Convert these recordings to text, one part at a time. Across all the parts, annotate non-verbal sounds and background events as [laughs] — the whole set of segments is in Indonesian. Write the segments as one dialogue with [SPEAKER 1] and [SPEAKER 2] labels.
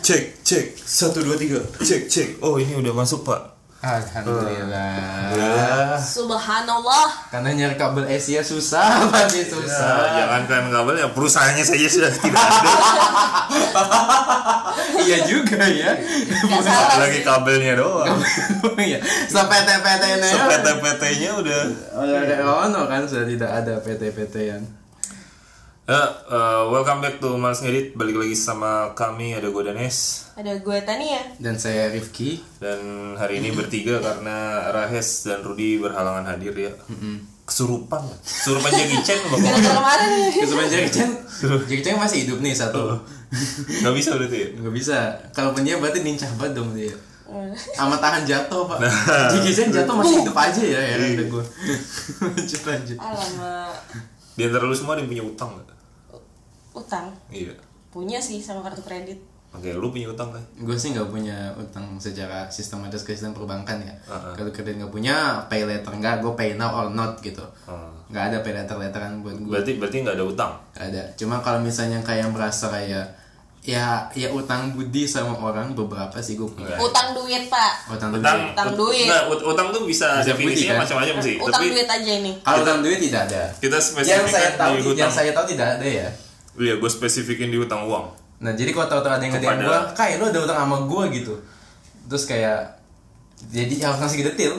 [SPEAKER 1] cek cek satu dua tiga cek cek oh ini udah masuk pak
[SPEAKER 2] Alhamdulillah.
[SPEAKER 3] Subhanallah.
[SPEAKER 2] Karena nyari kabel Asia susah, [laughs] pasti susah.
[SPEAKER 1] jangan kalian Nah, kabel ya perusahaannya saja sudah [laughs] tidak ada
[SPEAKER 2] Iya juga [laughs] ya.
[SPEAKER 3] Gak salah
[SPEAKER 1] lagi
[SPEAKER 3] sih.
[SPEAKER 1] kabelnya doang
[SPEAKER 2] Iya. Sampai TPT-nya.
[SPEAKER 1] PT-PT-nya udah
[SPEAKER 2] Udah Oh, ada ono kan sudah tidak ada PT-PT yang.
[SPEAKER 1] Eh, eh, welcome back to Males Ngedit Balik lagi sama kami, ada gue Danes
[SPEAKER 3] Ada gue ya. Tania.
[SPEAKER 2] Dan saya Rifki.
[SPEAKER 1] Dan hari ini bertiga karena Rahes dan Rudi berhalangan hadir ya Kesurupan, kesurupan Jackie Chan
[SPEAKER 3] Gara-gara
[SPEAKER 1] Bang.
[SPEAKER 3] kemarin Eh,
[SPEAKER 2] Kesurupan Jackie Chan. Jackie Chan masih hidup nih satu.
[SPEAKER 1] Gak bisa udah tuh ya
[SPEAKER 2] Nggak bisa. Kalaupun dia berarti nincah banget dong dia.
[SPEAKER 3] Hmm.
[SPEAKER 2] Sama tahan jatuh pak. Jackie Chan jatuh masih hidup aja ya. Heran deh gue. [laughs] Lanjut lanjut.
[SPEAKER 3] Alamak.
[SPEAKER 1] Di antara lu semua ada yang punya utang gak?
[SPEAKER 3] Utang.
[SPEAKER 1] Iya
[SPEAKER 3] Punya sih sama kartu kredit.
[SPEAKER 1] Oke, lu punya utang kan?
[SPEAKER 2] gue sih nggak punya utang secara sistematis ke sistem perbankan ya kalau kredit nggak punya pay later nggak gue pay now or not gitu nggak ada pay later letteran buat gue
[SPEAKER 1] Berarti berarti nggak ada utang
[SPEAKER 2] ada cuma kalau misalnya kayak merasa kayak ya ya utang budi sama orang beberapa sih gue punya
[SPEAKER 3] Utang duit, Pak.
[SPEAKER 2] utang
[SPEAKER 1] Utang,
[SPEAKER 2] duit
[SPEAKER 3] Utang
[SPEAKER 1] ut-
[SPEAKER 3] duit.
[SPEAKER 1] nggak, ut- utang tuh bisa,
[SPEAKER 2] Bisa
[SPEAKER 1] definisinya
[SPEAKER 2] budi, kan?
[SPEAKER 1] macam-macam sih
[SPEAKER 3] Utang
[SPEAKER 1] Tapi
[SPEAKER 3] duit aja ini.
[SPEAKER 2] kalau utang duit tidak ada
[SPEAKER 1] kita
[SPEAKER 2] yang saya
[SPEAKER 1] spesifikkan kan di
[SPEAKER 2] tahu yang
[SPEAKER 1] utang
[SPEAKER 2] saya tahu tidak ada ya
[SPEAKER 1] Iya, gue spesifikin di utang uang
[SPEAKER 2] Nah jadi kalau tahu-tahu ada yang ngedein
[SPEAKER 1] Kepada-
[SPEAKER 2] gue, kayak lu ada utang sama gue gitu. Terus kayak jadi ya, harus ngasih detail.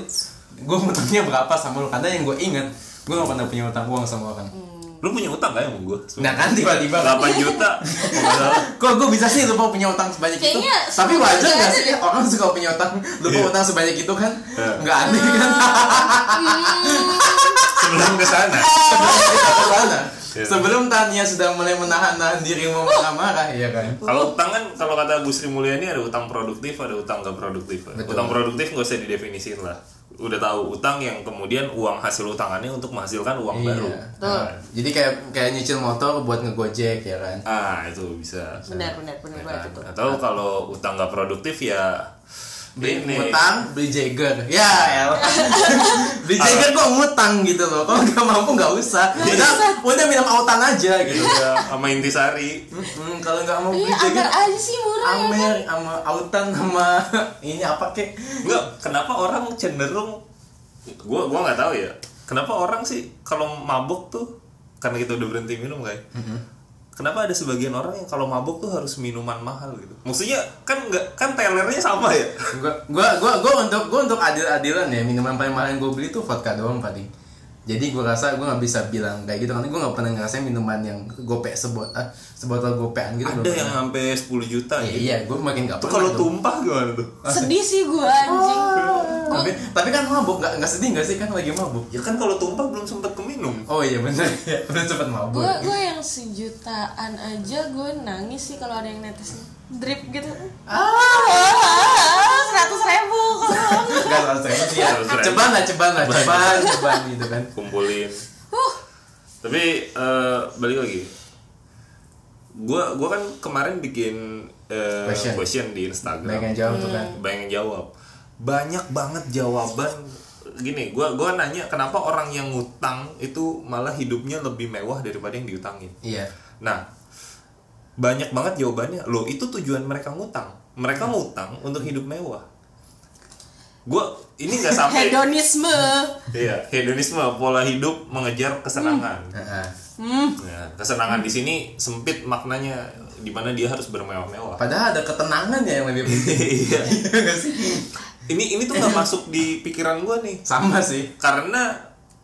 [SPEAKER 2] Gue utangnya berapa sama lu? Karena yang gue inget, gue gak pernah punya utang uang sama orang.
[SPEAKER 1] Lu punya utang gak ya sama gue?
[SPEAKER 2] Nah kan tiba-tiba
[SPEAKER 1] 8 juta Kalau nggak salah.
[SPEAKER 2] Kok gue bisa sih lupa punya utang sebanyak itu?
[SPEAKER 3] Kayaknya
[SPEAKER 2] Tapi
[SPEAKER 3] semua
[SPEAKER 2] wajar
[SPEAKER 3] juga
[SPEAKER 2] gak
[SPEAKER 3] ada
[SPEAKER 2] sih
[SPEAKER 3] deh.
[SPEAKER 2] orang suka punya utang lupa utang sebanyak itu kan?
[SPEAKER 1] Iya.
[SPEAKER 2] Nggak aneh
[SPEAKER 3] [laughs]
[SPEAKER 2] kan?
[SPEAKER 1] Sebelum ke
[SPEAKER 3] [laughs]
[SPEAKER 1] sana
[SPEAKER 2] Sebelum kita ke sana,
[SPEAKER 1] Iya.
[SPEAKER 2] sebelum Tania sudah mulai menahan-nahan diri mau marah-marah, ya kan?
[SPEAKER 1] Kalau utang kan kalau kata Bu Sri Mulyani ada utang produktif, ada utang gak produktif.
[SPEAKER 2] Betul.
[SPEAKER 1] Utang produktif nggak usah didefinisiin lah. Udah tahu utang yang kemudian uang hasil utangannya untuk menghasilkan uang baru. Nah,
[SPEAKER 2] Iya. Jadi kayak kayak nyicil motor buat ngegojek ya kan?
[SPEAKER 1] Ah, itu bisa. Iya kan?
[SPEAKER 3] Benar, benar, benar banget itu.
[SPEAKER 1] Atau kalau utang gak produktif ya
[SPEAKER 2] beli
[SPEAKER 1] ini
[SPEAKER 2] ngutang beli Jagger ya
[SPEAKER 1] [laughs]
[SPEAKER 2] el beli Jagger kok ngutang gitu loh kalau nggak mampu nggak usah
[SPEAKER 1] Iya.
[SPEAKER 2] udah udah minum autan aja gitu
[SPEAKER 1] ya, sama intisari.
[SPEAKER 2] Hmm, kalau nggak mau beli
[SPEAKER 3] Iya, agar
[SPEAKER 2] Jagger
[SPEAKER 3] aja sih murah ya kan.
[SPEAKER 2] Amer sama autan sama [laughs] ini apa kek
[SPEAKER 1] Enggak, kenapa orang cenderung gua gua nggak tahu ya. Kenapa orang sih kalau mabuk tuh karena kita udah berhenti minum kayak. Kenapa ada sebagian orang yang kalau mabuk tuh harus minuman mahal gitu? Maksudnya kan nggak kan telernya sama ya.
[SPEAKER 2] gua gua gua gua untuk gua untuk adil-adilan ya minuman paling mahal yang gua beli tuh vodka doang paling jadi gua rasa gua nggak bisa bilang kayak gitu karena gua nggak pernah ngerasain minuman yang gopek sebotol sebotol gopean gitu
[SPEAKER 1] Ada
[SPEAKER 2] belum
[SPEAKER 1] yang
[SPEAKER 2] pernah.
[SPEAKER 1] sampai 10 juta
[SPEAKER 2] Iya,
[SPEAKER 1] gitu.
[SPEAKER 2] iya gua makin nggak
[SPEAKER 1] Itu
[SPEAKER 2] pernah
[SPEAKER 1] kalau
[SPEAKER 2] dong.
[SPEAKER 1] tumpah gimana tuh?
[SPEAKER 3] Sedih sih gue anjing.
[SPEAKER 2] tapi tapi kan mabuk nggak nggak sedih nggak sih kan lagi mabuk
[SPEAKER 1] Ya kan kalau tumpah belum sempet keminum.
[SPEAKER 2] oh iya benar ya [laughs] udah cepet mabuk
[SPEAKER 3] Gue gue yang sejutaan aja gue nangis sih kalau ada yang netes drip gitu. Ah, seratus ribu kalau
[SPEAKER 2] nggak langsung ya
[SPEAKER 1] Langsung.
[SPEAKER 2] ceban lah ceban lah ceban ceban gitu kan
[SPEAKER 1] kumpulin. Tapi eh, balik lagi. Gua gua kan kemarin bikin eh,
[SPEAKER 2] Question.
[SPEAKER 1] question. di Instagram.
[SPEAKER 2] banyak yang jawab tuh kan
[SPEAKER 1] Banyak yang jawab. Banyak banget jawaban gini, gua gua nanya kenapa orang yang ngutang itu malah hidupnya lebih mewah daripada yang diutangin.
[SPEAKER 2] iya
[SPEAKER 1] Nah, banyak banget jawabannya. Loh, itu tujuan mereka ngutang. Mereka ngutang untuk hidup mewah. Gua ini nggak
[SPEAKER 3] [laughs]
[SPEAKER 1] sampai
[SPEAKER 3] hedonisme.
[SPEAKER 1] Iya, hedonisme pola hidup mengejar kesenangan.
[SPEAKER 2] Heeh.
[SPEAKER 3] Hmm.
[SPEAKER 1] Nah, kesenangan di sini sempit maknanya di mana dia harus bermewah-mewah.
[SPEAKER 2] padahal ada ketenangan ya yang lebih penting
[SPEAKER 1] Iya.
[SPEAKER 2] [laughs] Iya nggak sih
[SPEAKER 1] Ini ini tuh nggak masuk di pikiran gua nih.
[SPEAKER 2] sama sih
[SPEAKER 1] Karena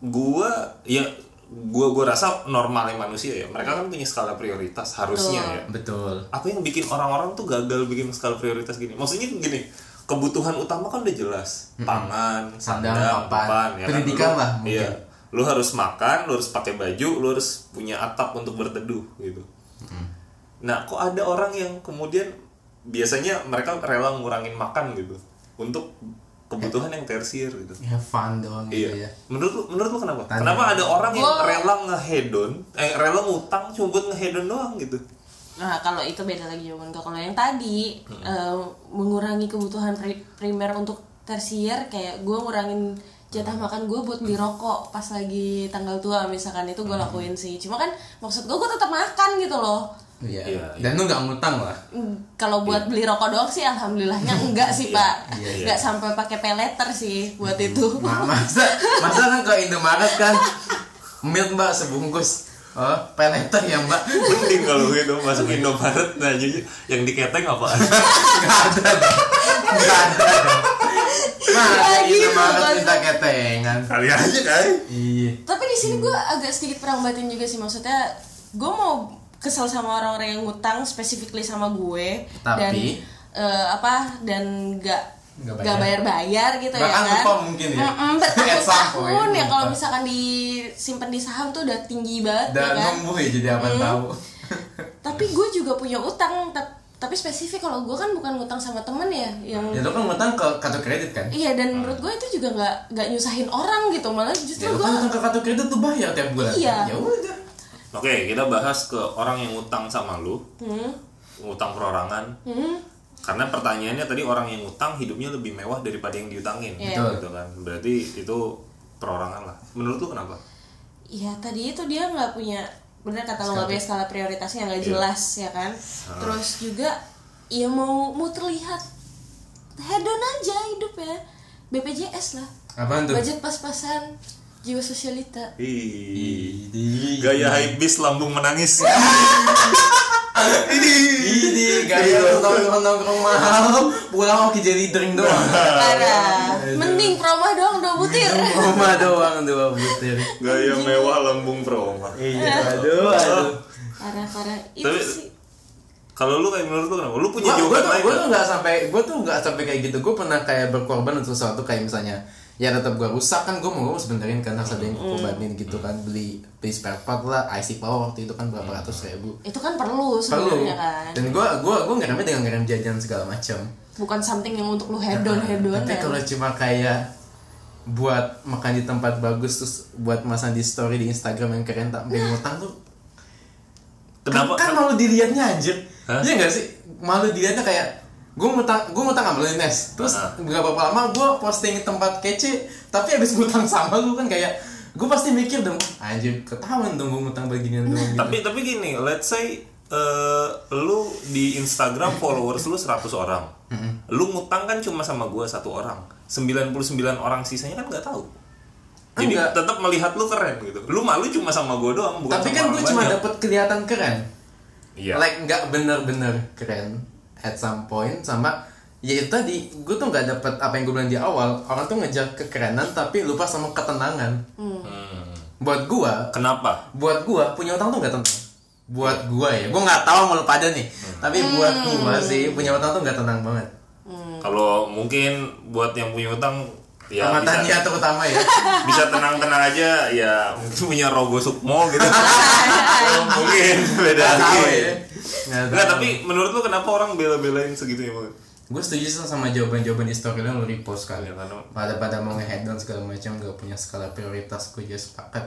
[SPEAKER 1] gua ya gua gua rasa normalnya manusia ya. Mereka kan punya skala prioritas harusnya ya.
[SPEAKER 2] betul
[SPEAKER 1] Apa yang bikin orang-orang tuh gagal bikin skala prioritas gini? Maksudnya gini, kebutuhan utama kan udah jelas. Pangan,
[SPEAKER 2] Sandang,
[SPEAKER 1] sandang,
[SPEAKER 2] papan.
[SPEAKER 1] papan, ya kan?
[SPEAKER 2] Pendidikan
[SPEAKER 1] Lu-
[SPEAKER 2] lah mungkin.
[SPEAKER 1] Iya. Lu harus makan, lu harus pakai baju, lu harus punya atap untuk berteduh gitu. Nah, kok ada orang yang kemudian biasanya mereka rela ngurangin makan gitu untuk kebutuhan yang tersier gitu. Iya.
[SPEAKER 2] ya fun doang gitu ya
[SPEAKER 1] Menurut lu, menurut lu kenapa?
[SPEAKER 2] Tanya.
[SPEAKER 1] Kenapa ada orang yang
[SPEAKER 3] Gua-
[SPEAKER 1] rela ngehedon, eh rela ngutang cuma buat ngehedon doang gitu?
[SPEAKER 3] Nah, kalau itu beda lagi jawaban gue. Kalau yang tadi
[SPEAKER 1] Hmm.
[SPEAKER 3] eh, mengurangi kebutuhan pri- primer untuk tersier kayak gue ngurangin jatah makan gue buat beli rokok pas
[SPEAKER 1] Hmm.
[SPEAKER 3] lagi tanggal tua misalkan itu gue lakuin sih. Cuma kan maksud gue gue tetap makan gitu loh.
[SPEAKER 2] Iya.
[SPEAKER 1] Iya, iya.
[SPEAKER 2] Dan lu nggak ngutang lah.
[SPEAKER 3] Mm, Kalau buat beli rokok doang sih
[SPEAKER 1] [laughs]
[SPEAKER 3] alhamdulillahnya enggak sih,
[SPEAKER 1] iya,
[SPEAKER 3] Pak.
[SPEAKER 1] Hmm. iya.
[SPEAKER 3] Enggak sampai pakai peleter sih buat itu.
[SPEAKER 2] Ma- masa masa kan ke Indomaret kan milk mbak sebungkus oh peleter ya mbak
[SPEAKER 1] Mending kalau gitu masuk Indomaret nah jadi yang diketeng apaan?
[SPEAKER 2] nggak ada nggak ada masa
[SPEAKER 3] Lagi
[SPEAKER 2] Indomaret
[SPEAKER 3] bukan.
[SPEAKER 2] minta ketengan
[SPEAKER 1] Kali aja kan.
[SPEAKER 2] iya
[SPEAKER 3] Tapi di sini gue agak sedikit perang batin juga sih maksudnya gue mau kesel sama orang-orang yang ngutang specifically sama gue dan
[SPEAKER 2] Tapi-
[SPEAKER 3] eh, apa dan nggak
[SPEAKER 2] Nggak bayar.
[SPEAKER 3] nggak bayar-bayar gitu
[SPEAKER 2] Bahkan
[SPEAKER 3] ya kan
[SPEAKER 2] lupa mungkin ya.
[SPEAKER 3] Mm-mm,
[SPEAKER 2] [laughs] At some point,
[SPEAKER 3] bertahun-tahun ya kalau
[SPEAKER 2] lupa.
[SPEAKER 3] misalkan disimpan di saham tuh udah tinggi banget ya
[SPEAKER 2] dan
[SPEAKER 3] kan
[SPEAKER 2] numbuh ya jadi apa tahu
[SPEAKER 3] tapi gue juga punya utang tap- tapi spesifik kalau gue kan bukan ngutang sama temen ya yang
[SPEAKER 2] ya lu kan ngutang ke kartu kredit kan
[SPEAKER 3] iya dan menurut gue itu juga nggak nggak nyusahin orang gitu malah
[SPEAKER 2] ya
[SPEAKER 3] justru
[SPEAKER 2] lu
[SPEAKER 3] gue
[SPEAKER 2] kan ngutang ke kartu kredit tuh bayar tiap bulan
[SPEAKER 3] Iya.
[SPEAKER 2] ya udah
[SPEAKER 1] Oke, kita bahas ke orang yang utang sama lu,
[SPEAKER 3] Hmm,
[SPEAKER 1] utang perorangan. Karena pertanyaannya tadi orang yang utang hidupnya lebih mewah daripada yang diutangin,
[SPEAKER 3] Iya.
[SPEAKER 2] Betul.
[SPEAKER 1] gitu kan? Berarti itu perorangan lah. Menurut lu kenapa?
[SPEAKER 3] Iya tadi itu dia nggak punya bener kata lo nggak punya skala prioritasnya
[SPEAKER 2] Iya.
[SPEAKER 3] nggak jelas ya kan.
[SPEAKER 2] Ah.
[SPEAKER 3] Terus juga ya mau mau terlihat hedon aja hidup ya BPJS lah
[SPEAKER 2] apaan tuh
[SPEAKER 3] budget pas-pasan jiwa sosialita.
[SPEAKER 1] Ih,
[SPEAKER 2] Idi,
[SPEAKER 1] gaya hypebeast lambung menangis.
[SPEAKER 2] idi, gaya lu nongkrong nongkrong mahal, pulang oke jadi drink doang.
[SPEAKER 3] [laughs] Parah. Mending promo doang dua butir.
[SPEAKER 2] Oma doang dua butir.
[SPEAKER 1] gaya mewah lambung proma.
[SPEAKER 2] Iya, aduh, aduh.
[SPEAKER 3] Parah parah itu
[SPEAKER 1] Tapi-
[SPEAKER 3] sih.
[SPEAKER 1] Kalau lu kayak menurut lu kenapa? Lu punya
[SPEAKER 2] Gue tuh
[SPEAKER 1] jawaban lain?
[SPEAKER 2] gue
[SPEAKER 1] nggak?
[SPEAKER 2] tuh nggak sampai gue tuh nggak sampai kayak gitu. Gue pernah kayak berkorban untuk sesuatu kayak misalnya ya tetap gue rusak kan gue mau gue sebenerin kan harus ada yang gue korbanin gitu kan beli beli spare part lah IC power waktu itu kan berapa ratus ribu
[SPEAKER 3] Itu kan perlu
[SPEAKER 2] perlu
[SPEAKER 3] sebenarnya kan.
[SPEAKER 2] dan gue gue gue ngeremnya dengan ngerem jajan segala macam
[SPEAKER 3] Bukan something yang untuk lu hedon hedon
[SPEAKER 2] Tapi Nah, kalau cuma kayak buat makan di tempat bagus terus buat masang di story di Instagram yang keren tak pengen ngutang tuh kan,
[SPEAKER 1] Kenapa?
[SPEAKER 2] kan malu dilihatnya anjir
[SPEAKER 1] Hah?
[SPEAKER 2] iya gak sih malu dilihatnya kayak gue ngutang gue ngutang sama lu Nes terus
[SPEAKER 1] Ah.
[SPEAKER 2] berapa lama gue posting tempat kece tapi abis ngutang sama lu kan kayak gue pasti mikir dong anjir ketahuan dong gue ngutang beginian dong gitu.
[SPEAKER 1] Tapi tapi gini, let's say eh, lu di Instagram followers lu 100 orang. Lu ngutang kan cuma sama gua satu orang. 99 orang sisanya kan nggak tahu. Jadi
[SPEAKER 2] Enggak.
[SPEAKER 1] tetap melihat lu keren gitu. Lu malu cuma sama gua doang, bukan
[SPEAKER 2] tapi
[SPEAKER 1] sama
[SPEAKER 2] kan
[SPEAKER 1] orang
[SPEAKER 2] gue cuma
[SPEAKER 1] banyak.
[SPEAKER 2] dapet kelihatan keren
[SPEAKER 1] Iya.
[SPEAKER 2] like nggak bener-bener keren at some point sama ya itu tadi gue tuh nggak dapet apa yang gue bilang di awal orang tuh ngejar kekerenan tapi lupa sama ketenangan
[SPEAKER 1] Hmm.
[SPEAKER 2] buat gue
[SPEAKER 1] Kenapa?
[SPEAKER 2] buat gue punya utang tuh nggak tenang buat gue ya gue nggak tahu mau pada nih
[SPEAKER 1] Hmm.
[SPEAKER 2] tapi buat gue sih punya utang tuh nggak tenang banget Hmm.
[SPEAKER 1] Kalau mungkin buat yang punya utang ya
[SPEAKER 2] sama
[SPEAKER 1] bisa-
[SPEAKER 2] Tania terutama
[SPEAKER 1] [laughs]
[SPEAKER 2] ya
[SPEAKER 1] bisa tenang-tenang aja ya mungkin punya rogo sukmo
[SPEAKER 2] [laughs]
[SPEAKER 1] gitu mungkin beda
[SPEAKER 2] nggak
[SPEAKER 1] lagi
[SPEAKER 2] tahu ya nggak
[SPEAKER 1] Enggak,
[SPEAKER 2] tahu.
[SPEAKER 1] tapi menurut lu kenapa orang bela-belain segitu ya banget?
[SPEAKER 2] gue setuju sih sama jawaban-jawaban di story lo yang lo repost kali
[SPEAKER 1] Ya, karena-
[SPEAKER 2] pada pada mau nge down segala macam gak punya skala prioritas gue juga sepakat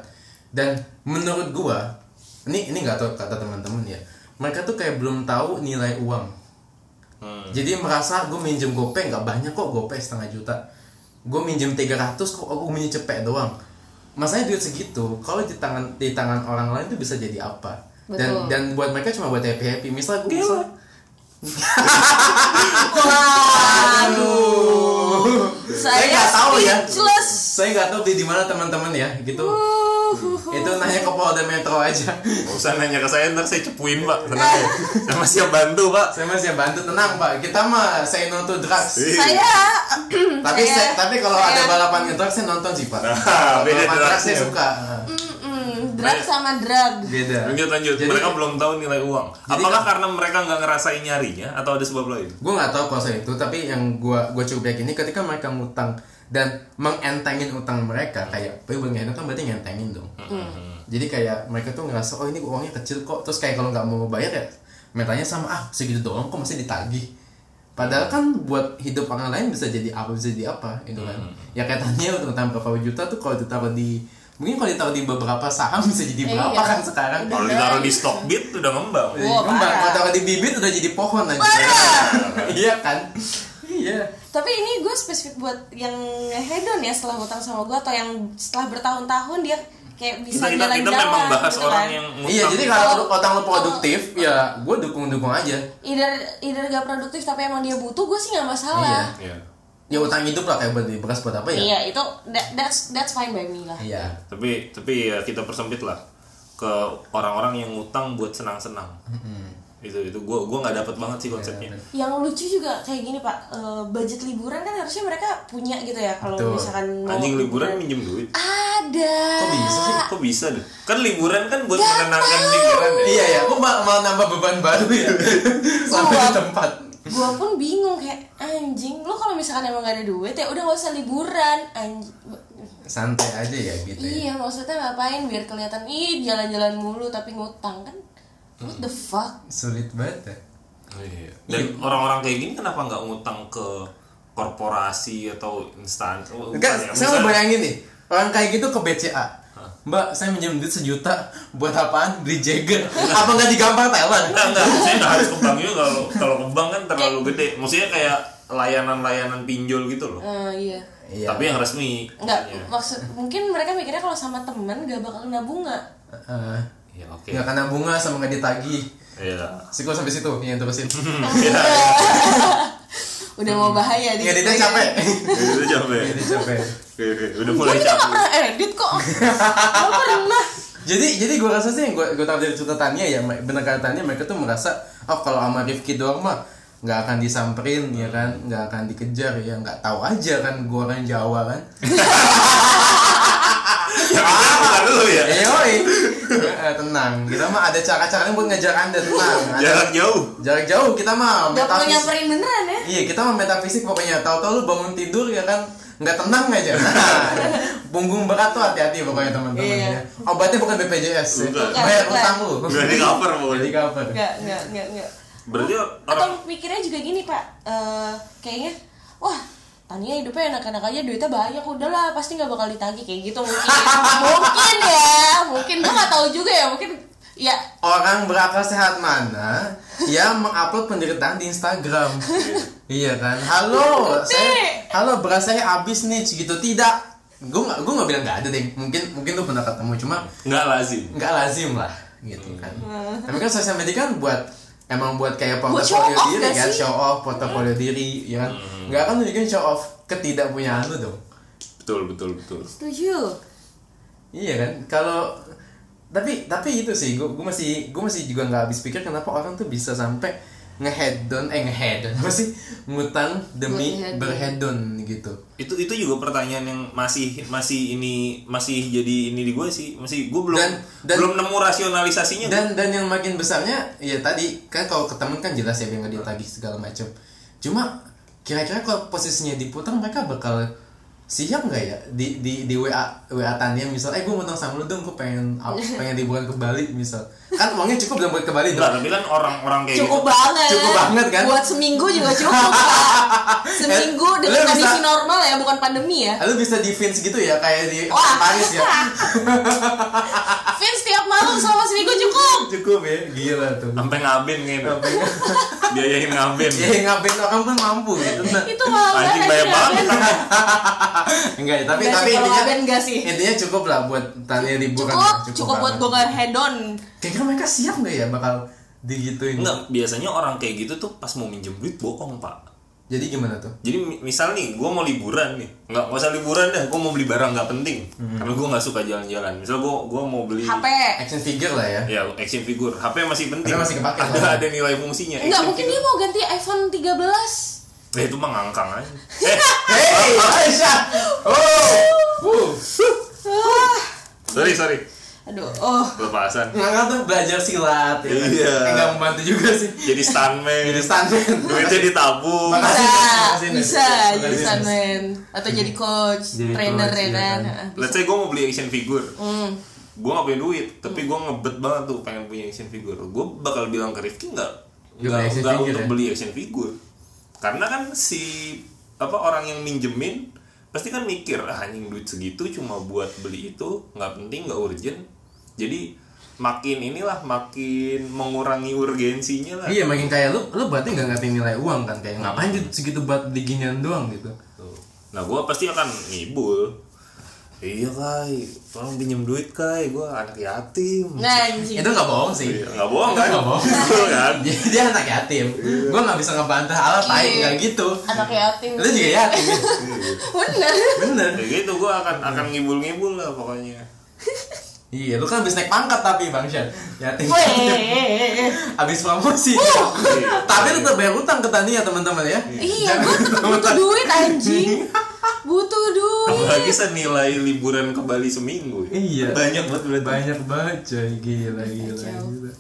[SPEAKER 2] dan menurut gue ini ini nggak tahu kata teman-teman ya mereka tuh kayak belum tahu nilai uang
[SPEAKER 1] Hmm.
[SPEAKER 2] jadi merasa gue minjem gopay nggak banyak kok gopay setengah juta gue minjem 300 kok aku minjem cepet doang masanya duit segitu kalau di tangan di tangan orang lain tuh bisa jadi apa dan
[SPEAKER 3] Betul.
[SPEAKER 2] dan buat mereka cuma buat happy happy misal gue bisa aduh saya
[SPEAKER 3] Saya
[SPEAKER 2] nggak tahu ya
[SPEAKER 3] speechless.
[SPEAKER 2] saya nggak tahu beli di mana teman-teman ya gitu itu nanya ke Polda Metro aja [laughs]
[SPEAKER 1] Nggak usah nanya ke saya ntar saya cepuin pak tenang ya. Sama
[SPEAKER 2] [laughs]
[SPEAKER 1] siap bantu pak.
[SPEAKER 2] saya masih bantu tenang pak kita mah saya nonton drugs [laughs]
[SPEAKER 3] Saya
[SPEAKER 2] tapi saya- tapi kalau ada balapan drugs saya nonton sih pak
[SPEAKER 1] Nah, beda
[SPEAKER 2] balapan drugs saya
[SPEAKER 1] drugsnya.
[SPEAKER 2] suka
[SPEAKER 3] Mm, drug sama drug.
[SPEAKER 2] beda
[SPEAKER 1] Lanjut lanjut.
[SPEAKER 2] Jadi- kan-
[SPEAKER 1] mereka belum tahu nilai uang. Apakah karena mereka nggak ngerasain nyarinya atau ada sebab lain?
[SPEAKER 2] gue nggak tahu kalau saya itu tapi yang gue gue cukup yakin ini ketika mereka ngutang dan mengentengin utang mereka kayak gue bagaimana kan berarti ngentengin dong
[SPEAKER 1] Hmm.
[SPEAKER 2] jadi kayak mereka tuh ngerasa oh ini uangnya kecil kok terus kayak kalau nggak mau bayar ya mintanya sama ah segitu doang kok masih ditagih padahal kan buat hidup orang lain bisa jadi apa bisa jadi apa gitu kan
[SPEAKER 1] Hmm.
[SPEAKER 2] ya katanya utang berapa juta tuh kalau ditaruh di mungkin kalau ditaruh di beberapa saham bisa jadi berapa
[SPEAKER 3] Iya.
[SPEAKER 2] kan sekarang
[SPEAKER 1] Kalau ditaruh
[SPEAKER 2] iya.
[SPEAKER 1] di Stockbit udah ngembang.
[SPEAKER 2] jadi
[SPEAKER 3] Wah,
[SPEAKER 2] kembang.
[SPEAKER 3] parah.
[SPEAKER 2] Kalau taruh di bibit udah jadi pohon aja. iya kan? Iya.
[SPEAKER 3] Tapi ini gue spesifik buat yang hedon ya setelah utang sama gue atau yang setelah bertahun-tahun dia kayak bisa
[SPEAKER 1] kita kita kita
[SPEAKER 3] jalan-jalan
[SPEAKER 1] memang bahas
[SPEAKER 3] gitu
[SPEAKER 1] orang
[SPEAKER 3] kan.
[SPEAKER 1] yang
[SPEAKER 2] Iya,
[SPEAKER 1] ngutang.
[SPEAKER 2] jadi kalau otak lu produktif, ya gue dukung-dukung aja.
[SPEAKER 3] either either gak produktif tapi emang dia butuh gue sih nggak masalah
[SPEAKER 1] Iya.
[SPEAKER 2] Ya utang hidup lah kayak beli bekas buat apa ya?
[SPEAKER 3] iya itu that, that's that's fine by me lah
[SPEAKER 2] Iya.
[SPEAKER 1] tapi tapi ya kita persempit lah ke orang-orang yang ngutang buat senang-senang itu itu gue gua nggak dapet banget sih konsepnya
[SPEAKER 2] Iya,
[SPEAKER 3] yang lucu juga kayak gini pak eh, budget liburan kan harusnya mereka punya gitu ya kalau
[SPEAKER 2] Betul.
[SPEAKER 3] misalkan mau
[SPEAKER 1] anjing liburan minjem duit
[SPEAKER 3] ada
[SPEAKER 2] Kok bisa sih?
[SPEAKER 1] kok bisa deh kan liburan kan buat menenangkan pikiran ya
[SPEAKER 2] Iya ya, gue malah nambah beban baru ya. Sampai di tempat.
[SPEAKER 3] gue pun bingung kayak anjing lu kalau misalkan emang gak ada duit ya udah gak usah liburan anjing
[SPEAKER 2] Santai aja ya gitu ya.
[SPEAKER 3] iya maksudnya ngapain biar kelihatan ih jalan-jalan mulu tapi ngutang kan what the fuck
[SPEAKER 2] Sulit banget ya.
[SPEAKER 1] Iya. dan orang-orang kayak gini kenapa nggak ngutang ke korporasi atau instan oh, bukan ya,
[SPEAKER 2] Enggak, saya mau
[SPEAKER 1] misalnya-
[SPEAKER 2] bayangin nih. Orang kayak gitu ke BCA. Mbak, saya minjem duit sejuta buat apaan? Beli Jagger. apa nggak digampar Thailand?
[SPEAKER 1] enggak enggak saya nggak harus ke bank juga kalau kalau ke bank kan terlalu gede maksudnya kayak layanan-layanan pinjol gitu loh
[SPEAKER 3] Eh, iya
[SPEAKER 2] Iya.
[SPEAKER 1] tapi yang resmi Iya.
[SPEAKER 3] nggak
[SPEAKER 1] maksudnya.
[SPEAKER 3] maksud mungkin mereka mikirnya kalau sama temen gak bakal kena bunga
[SPEAKER 2] Eh,
[SPEAKER 1] ya oke
[SPEAKER 2] nggak kena bunga sama nggak ditagih.
[SPEAKER 1] Iya. [laughs]
[SPEAKER 2] Siku sampai situ, yang terusin.
[SPEAKER 3] udah mau bahaya
[SPEAKER 2] Nggak ditanya capek.
[SPEAKER 1] itu capek
[SPEAKER 2] Jadi capek.
[SPEAKER 1] Oke, oke. udah
[SPEAKER 3] gue
[SPEAKER 1] mulai
[SPEAKER 3] juga nggak
[SPEAKER 1] capek
[SPEAKER 3] pernah edit kok Gak pernah
[SPEAKER 2] Jadi jadi gue rasa sih gue gue tahu dari cerita Tania ya benar kata Tania mereka tuh merasa oh kalau sama Rifki doang mah nggak akan disamperin ya kan nggak akan dikejar ya nggak tahu aja kan gue orang Jawa
[SPEAKER 1] [laughs]
[SPEAKER 2] kan
[SPEAKER 1] ya bukan lu ya
[SPEAKER 2] Eh, yoi. Eh, tenang kita mah ada cara-caranya buat ngejar anda tenang Ada-
[SPEAKER 1] jarak jauh
[SPEAKER 2] jarak jauh kita mah
[SPEAKER 3] Gak perlu
[SPEAKER 2] metafisik
[SPEAKER 3] nyamperin beneran ya
[SPEAKER 2] iya kita mah metafisik pokoknya tahu-tahu lu bangun tidur ya kan nggak tenang aja [laughs] Nah, punggung berat tuh hati-hati pokoknya teman-teman
[SPEAKER 3] Iya.
[SPEAKER 2] ya. obatnya bukan BPJS ya.
[SPEAKER 1] Bukan.
[SPEAKER 2] bayar
[SPEAKER 3] Bukan.
[SPEAKER 2] utang lu
[SPEAKER 1] Nggak di cover, pokoknya.
[SPEAKER 2] Nggak di cover
[SPEAKER 3] Nggak, nggak, nggak, nggak
[SPEAKER 1] berarti
[SPEAKER 3] Atau
[SPEAKER 1] orang
[SPEAKER 3] mikirnya juga gini pak Eh, Kayaknya Wah Tania hidupnya enak-enak aja duitnya banyak udahlah pasti nggak bakal ditagih kayak gitu
[SPEAKER 2] [laughs]
[SPEAKER 3] mungkin mungkin ya mungkin gue nggak tahu juga ya mungkin ya
[SPEAKER 2] orang berakal sehat mana yang mengupload penderitaan di Instagram iya kan halo saya halo beras saya habis nih segitu tidak gue nggak gue nggak bilang nggak ada deh mungkin mungkin lu pernah ketemu cuma
[SPEAKER 1] nggak lazim
[SPEAKER 2] nggak lazim lah gitu kan tapi kan sosial media kan buat emang buat kayak
[SPEAKER 3] show
[SPEAKER 2] portofolio
[SPEAKER 3] off
[SPEAKER 2] diri
[SPEAKER 3] nggak
[SPEAKER 2] kan
[SPEAKER 3] sih?
[SPEAKER 2] show off portofolio diri ya kan nggak akan nunjukin show off ketidakpunyaan lu dong
[SPEAKER 1] betul betul betul
[SPEAKER 3] setuju
[SPEAKER 2] Iya kan, kalau tapi tapi itu sih, gue masih gue masih juga nggak habis pikir kenapa orang tuh bisa sampai ngehead down eh ngehead down apa sih ngutang demi
[SPEAKER 3] Berhead down.
[SPEAKER 2] berhead down gitu.
[SPEAKER 1] itu itu juga pertanyaan yang masih masih ini masih jadi ini di gue sih masih gue belum
[SPEAKER 2] Dan- dan-
[SPEAKER 1] belum nemu rasionalisasinya
[SPEAKER 2] Dan dan yang makin besarnya ya tadi kan kalau ke temen kan jelas ya nggak ditagih segala macam. Cuma kira-kira kalau posisinya diputar mereka bakal siap nggak ya di di di WA WA Tania misal eh gue ngutang sama lu dong gue pengen
[SPEAKER 3] [laughs]
[SPEAKER 2] pengen liburan ke Bali misal kan uangnya cukup dong buat ke Bali
[SPEAKER 1] Enggak,
[SPEAKER 2] dong
[SPEAKER 1] tapi kan orang-orang kayak
[SPEAKER 3] cukup
[SPEAKER 1] gitu
[SPEAKER 3] banget
[SPEAKER 2] Iya. Cukup banget, kan?
[SPEAKER 3] buat seminggu juga cukup
[SPEAKER 2] [laughs]
[SPEAKER 3] Pak. seminggu
[SPEAKER 2] Eh,
[SPEAKER 3] dengan
[SPEAKER 2] lu bisa-
[SPEAKER 3] kondisi normal ya bukan pandemi ya
[SPEAKER 2] Lu bisa di Vince gitu ya kayak di
[SPEAKER 3] Wah.
[SPEAKER 2] Paris
[SPEAKER 3] [laughs]
[SPEAKER 2] ya. [laughs]
[SPEAKER 3] Vince tiap malam selama seminggu cukup
[SPEAKER 2] Cukup ya, gila tuh.
[SPEAKER 1] sampai ngaben gitu [laughs] biayain ngaben
[SPEAKER 2] Ya ngapain orang pun mampu gitu. Nah,
[SPEAKER 3] itu kan mahal
[SPEAKER 1] anjing banyak
[SPEAKER 3] banget
[SPEAKER 1] banget
[SPEAKER 2] enggak, tapi tapi
[SPEAKER 3] Enggak sih, kalau
[SPEAKER 2] intinya
[SPEAKER 3] Aben enggak sih.
[SPEAKER 2] Intinya cukup lah buat tanya
[SPEAKER 3] cukup
[SPEAKER 2] liburan.
[SPEAKER 3] cukup, buat
[SPEAKER 2] banget.
[SPEAKER 3] gue nggak head on
[SPEAKER 2] Kayaknya mereka siap nggak ya bakal digituin?
[SPEAKER 1] enggak biasanya orang kayak gitu tuh pas mau minjem duit bohong pak
[SPEAKER 2] Jadi gimana tuh?
[SPEAKER 1] Jadi mi- misal nih, gue mau liburan nih, nggak nggak usah liburan dah, gue mau beli barang nggak penting,
[SPEAKER 2] Hmm.
[SPEAKER 1] karena gue nggak suka jalan-jalan. Misal gue gua mau
[SPEAKER 2] Iya.
[SPEAKER 1] beli
[SPEAKER 3] HP
[SPEAKER 2] Action figure lah ya.
[SPEAKER 1] ya action figure, HP masih penting,
[SPEAKER 2] Karena masih kepake
[SPEAKER 1] ada
[SPEAKER 2] soalnya.
[SPEAKER 1] ada nilai fungsinya.
[SPEAKER 3] nggak
[SPEAKER 1] Action
[SPEAKER 3] mungkin dia
[SPEAKER 1] figure.
[SPEAKER 3] mau ganti iPhone 13
[SPEAKER 1] Ya itu mah ngangkang aja. Eh,
[SPEAKER 2] Hey, Aisyah. Oh. Uh.
[SPEAKER 3] Ah,
[SPEAKER 1] sorry sorry,
[SPEAKER 3] aduh oh
[SPEAKER 1] lepasan.
[SPEAKER 2] Ngangkat tuh belajar silat ya. kan?
[SPEAKER 1] Iya.
[SPEAKER 2] Enggak membantu juga sih.
[SPEAKER 1] Jadi stuntman,
[SPEAKER 2] Jadi stuntman.
[SPEAKER 1] duitnya ditabung.
[SPEAKER 2] Makasih. Makasih,
[SPEAKER 3] bisa
[SPEAKER 2] Nes.
[SPEAKER 3] bisa
[SPEAKER 2] Makasih,
[SPEAKER 3] jadi
[SPEAKER 2] Nes.
[SPEAKER 3] stuntman atau jadi coach
[SPEAKER 2] Jadi
[SPEAKER 3] trainer
[SPEAKER 2] coach,
[SPEAKER 3] ya
[SPEAKER 2] iya
[SPEAKER 3] kan
[SPEAKER 2] kan.
[SPEAKER 3] Ah, bisa.
[SPEAKER 1] Let's say gue mau beli action figure,
[SPEAKER 3] Hmm.
[SPEAKER 1] gue nggak punya duit, tapi gue ngebet banget tuh pengen punya action figure. Gue bakal bilang ke Rifki nggak
[SPEAKER 2] Beli
[SPEAKER 1] nggak
[SPEAKER 2] action
[SPEAKER 1] nggak
[SPEAKER 2] figure
[SPEAKER 1] untuk
[SPEAKER 2] ya?
[SPEAKER 1] beli action figure, karena kan si apa orang yang minjemin pasti kan mikir ah, anjing duit segitu cuma buat beli itu nggak penting nggak urgent, jadi makin inilah makin mengurangi urgensinya lah.
[SPEAKER 2] Iya makin kayak lu, lu berarti nggak ngerti nilai uang kan kayak
[SPEAKER 1] Iya.
[SPEAKER 2] ngapain gitu segitu buat diginian doang gitu.
[SPEAKER 1] Tuh. Nah gue pasti akan ngibul Iya kai, tolong pinjem duit kai, gue anak yatim.
[SPEAKER 3] Nah, anjing.
[SPEAKER 2] itu nggak bohong sih
[SPEAKER 1] Iya, nggak bohong kan?
[SPEAKER 2] Nggak
[SPEAKER 1] [laughs]
[SPEAKER 2] bohong.
[SPEAKER 1] Betul kan? Iya.
[SPEAKER 2] [laughs] dia, dia anak yatim gue nggak bisa ngebantah ala tai
[SPEAKER 3] Iya.
[SPEAKER 2] nggak gitu
[SPEAKER 3] Anak yatim.
[SPEAKER 2] itu Iya. juga yatim
[SPEAKER 3] Bener.
[SPEAKER 2] bener
[SPEAKER 1] Ya gitu gue akan akan ngibul-ngibul lah pokoknya.
[SPEAKER 2] iya lu kan habis naik pangkat tapi bang Syan yatim
[SPEAKER 3] Weh.
[SPEAKER 2] habis promosi tapi lu tetap bayar utang ke Tania teman-teman ya
[SPEAKER 3] Iya, gue tetap butuh duit anjing. Butuh duit.
[SPEAKER 1] Apalagi senilai liburan ke Bali seminggu. ya.
[SPEAKER 2] Iya.
[SPEAKER 1] Banyak banget berarti.
[SPEAKER 2] banyak banget coy gila gila,
[SPEAKER 3] Kacau.
[SPEAKER 2] gila.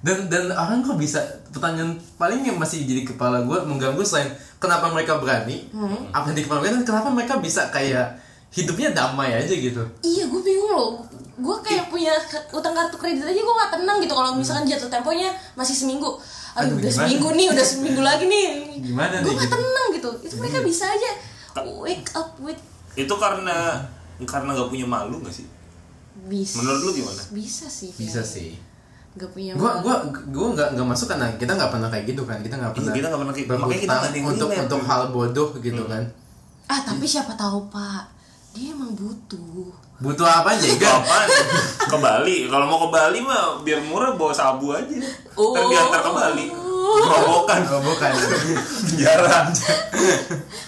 [SPEAKER 2] dan dan orang kok bisa pertanyaan paling yang masih jadi kepala gue mengganggu selain kenapa mereka berani apa yang di kepala mereka dan kenapa mereka bisa kayak hidupnya damai aja gitu
[SPEAKER 3] Iya, gue bingung loh. Gue kayak punya k- utang kartu kredit aja gue gak tenang gitu kalau misalkan jatuh temponya masih seminggu.
[SPEAKER 2] Hmm. Aduh,
[SPEAKER 3] Aduh, udah
[SPEAKER 2] gimana?
[SPEAKER 3] seminggu nih, udah seminggu lagi nih.
[SPEAKER 2] Gimana
[SPEAKER 3] Gue
[SPEAKER 2] nih,
[SPEAKER 3] gak
[SPEAKER 2] gitu? Hmm.
[SPEAKER 3] tenang gitu. Itu mereka bisa aja wake up with
[SPEAKER 1] Itu karena karena gak punya malu gak sih?
[SPEAKER 3] bisa.
[SPEAKER 1] Menurut lu gimana?
[SPEAKER 3] Bisa sih.
[SPEAKER 2] bisa
[SPEAKER 3] Fer.
[SPEAKER 2] sih
[SPEAKER 3] Gak punya.
[SPEAKER 2] gue
[SPEAKER 3] malu.
[SPEAKER 2] gua gua nggak nggak masuk karena kita nggak pernah kayak gitu kan kita nggak pernah
[SPEAKER 1] Iya, kita nggak pernah kayak-
[SPEAKER 2] berhutang
[SPEAKER 1] makanya kita nggak ada yang Hmm.
[SPEAKER 2] untuk
[SPEAKER 1] relate.
[SPEAKER 2] untuk hal bodoh gitu kan
[SPEAKER 3] Ah, tapi siapa tahu, Pak. Dia emang butuh.
[SPEAKER 2] butuh apa aja
[SPEAKER 1] Gak apaan? ke Bali. Kalau mau ke Bali mah biar murah bawa sabu aja.
[SPEAKER 3] Oh.
[SPEAKER 1] Ntar diantar ke Bali. Kerobokan,
[SPEAKER 2] oh, bukan
[SPEAKER 1] [laughs] penjara.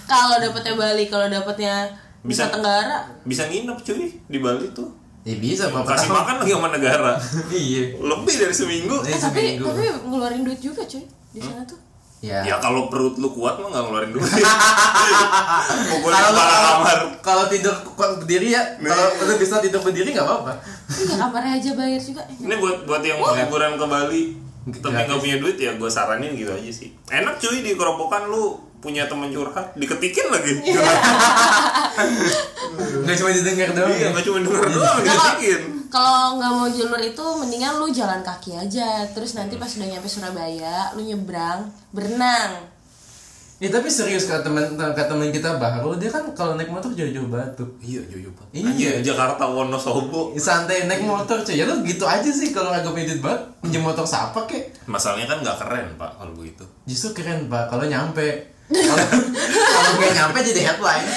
[SPEAKER 3] Kalau dapetnya Bali, kalau dapetnya
[SPEAKER 1] Bisa.
[SPEAKER 3] bisa Tenggara,
[SPEAKER 1] Bisa nginep cuy di Bali tuh.
[SPEAKER 2] ya bisa bapak
[SPEAKER 1] Kasih makan lagi sama negara.
[SPEAKER 2] iya
[SPEAKER 1] Lebih dari seminggu.
[SPEAKER 2] Eh,
[SPEAKER 3] Eh, tapi
[SPEAKER 2] seminggu.
[SPEAKER 3] tapi ngeluarin duit juga cuy di sana tuh
[SPEAKER 2] ya
[SPEAKER 1] Ya kalau perut lu kuat mah gak ngeluarin [laughs] duit. Pukul
[SPEAKER 2] kalau
[SPEAKER 1] kepala kamar.
[SPEAKER 2] kalau tidur kok berdiri ya kalau lu bisa tidur berdiri nggak apa-apa
[SPEAKER 3] iya kamarnya aja bayar juga Eh,
[SPEAKER 1] Ini buat buat yang mau liburan ke Bali tapi
[SPEAKER 2] Gratis.
[SPEAKER 1] nggak punya duit ya gue saranin gitu aja sih. Enak cuy di keropokan lu punya temen curhat diketikin lagi.
[SPEAKER 2] nggak cuma didengar doang
[SPEAKER 1] [laughs] Iya
[SPEAKER 2] ya.
[SPEAKER 1] nggak cuma denger doang diketikin.
[SPEAKER 3] kalau nggak mau jalur itu mendingan lu jalan kaki aja terus nanti pas udah nyampe Surabaya lu nyebrang berenang
[SPEAKER 2] Ya, tapi serius kata teman kata teman kita baru dia kan kalau naik motor jauh-jauh batu
[SPEAKER 1] Iya jojo banget.
[SPEAKER 2] Iya.
[SPEAKER 1] Iya Jakarta Wonosobo.
[SPEAKER 2] santai naik motor cuy ya lu gitu aja sih kalau agak medit banget pinjam motor siapa kek
[SPEAKER 1] Masalahnya kan nggak keren pak kalau begitu.
[SPEAKER 2] justru keren pak kalau nyampe kalau kalau gue nyampe jadi headline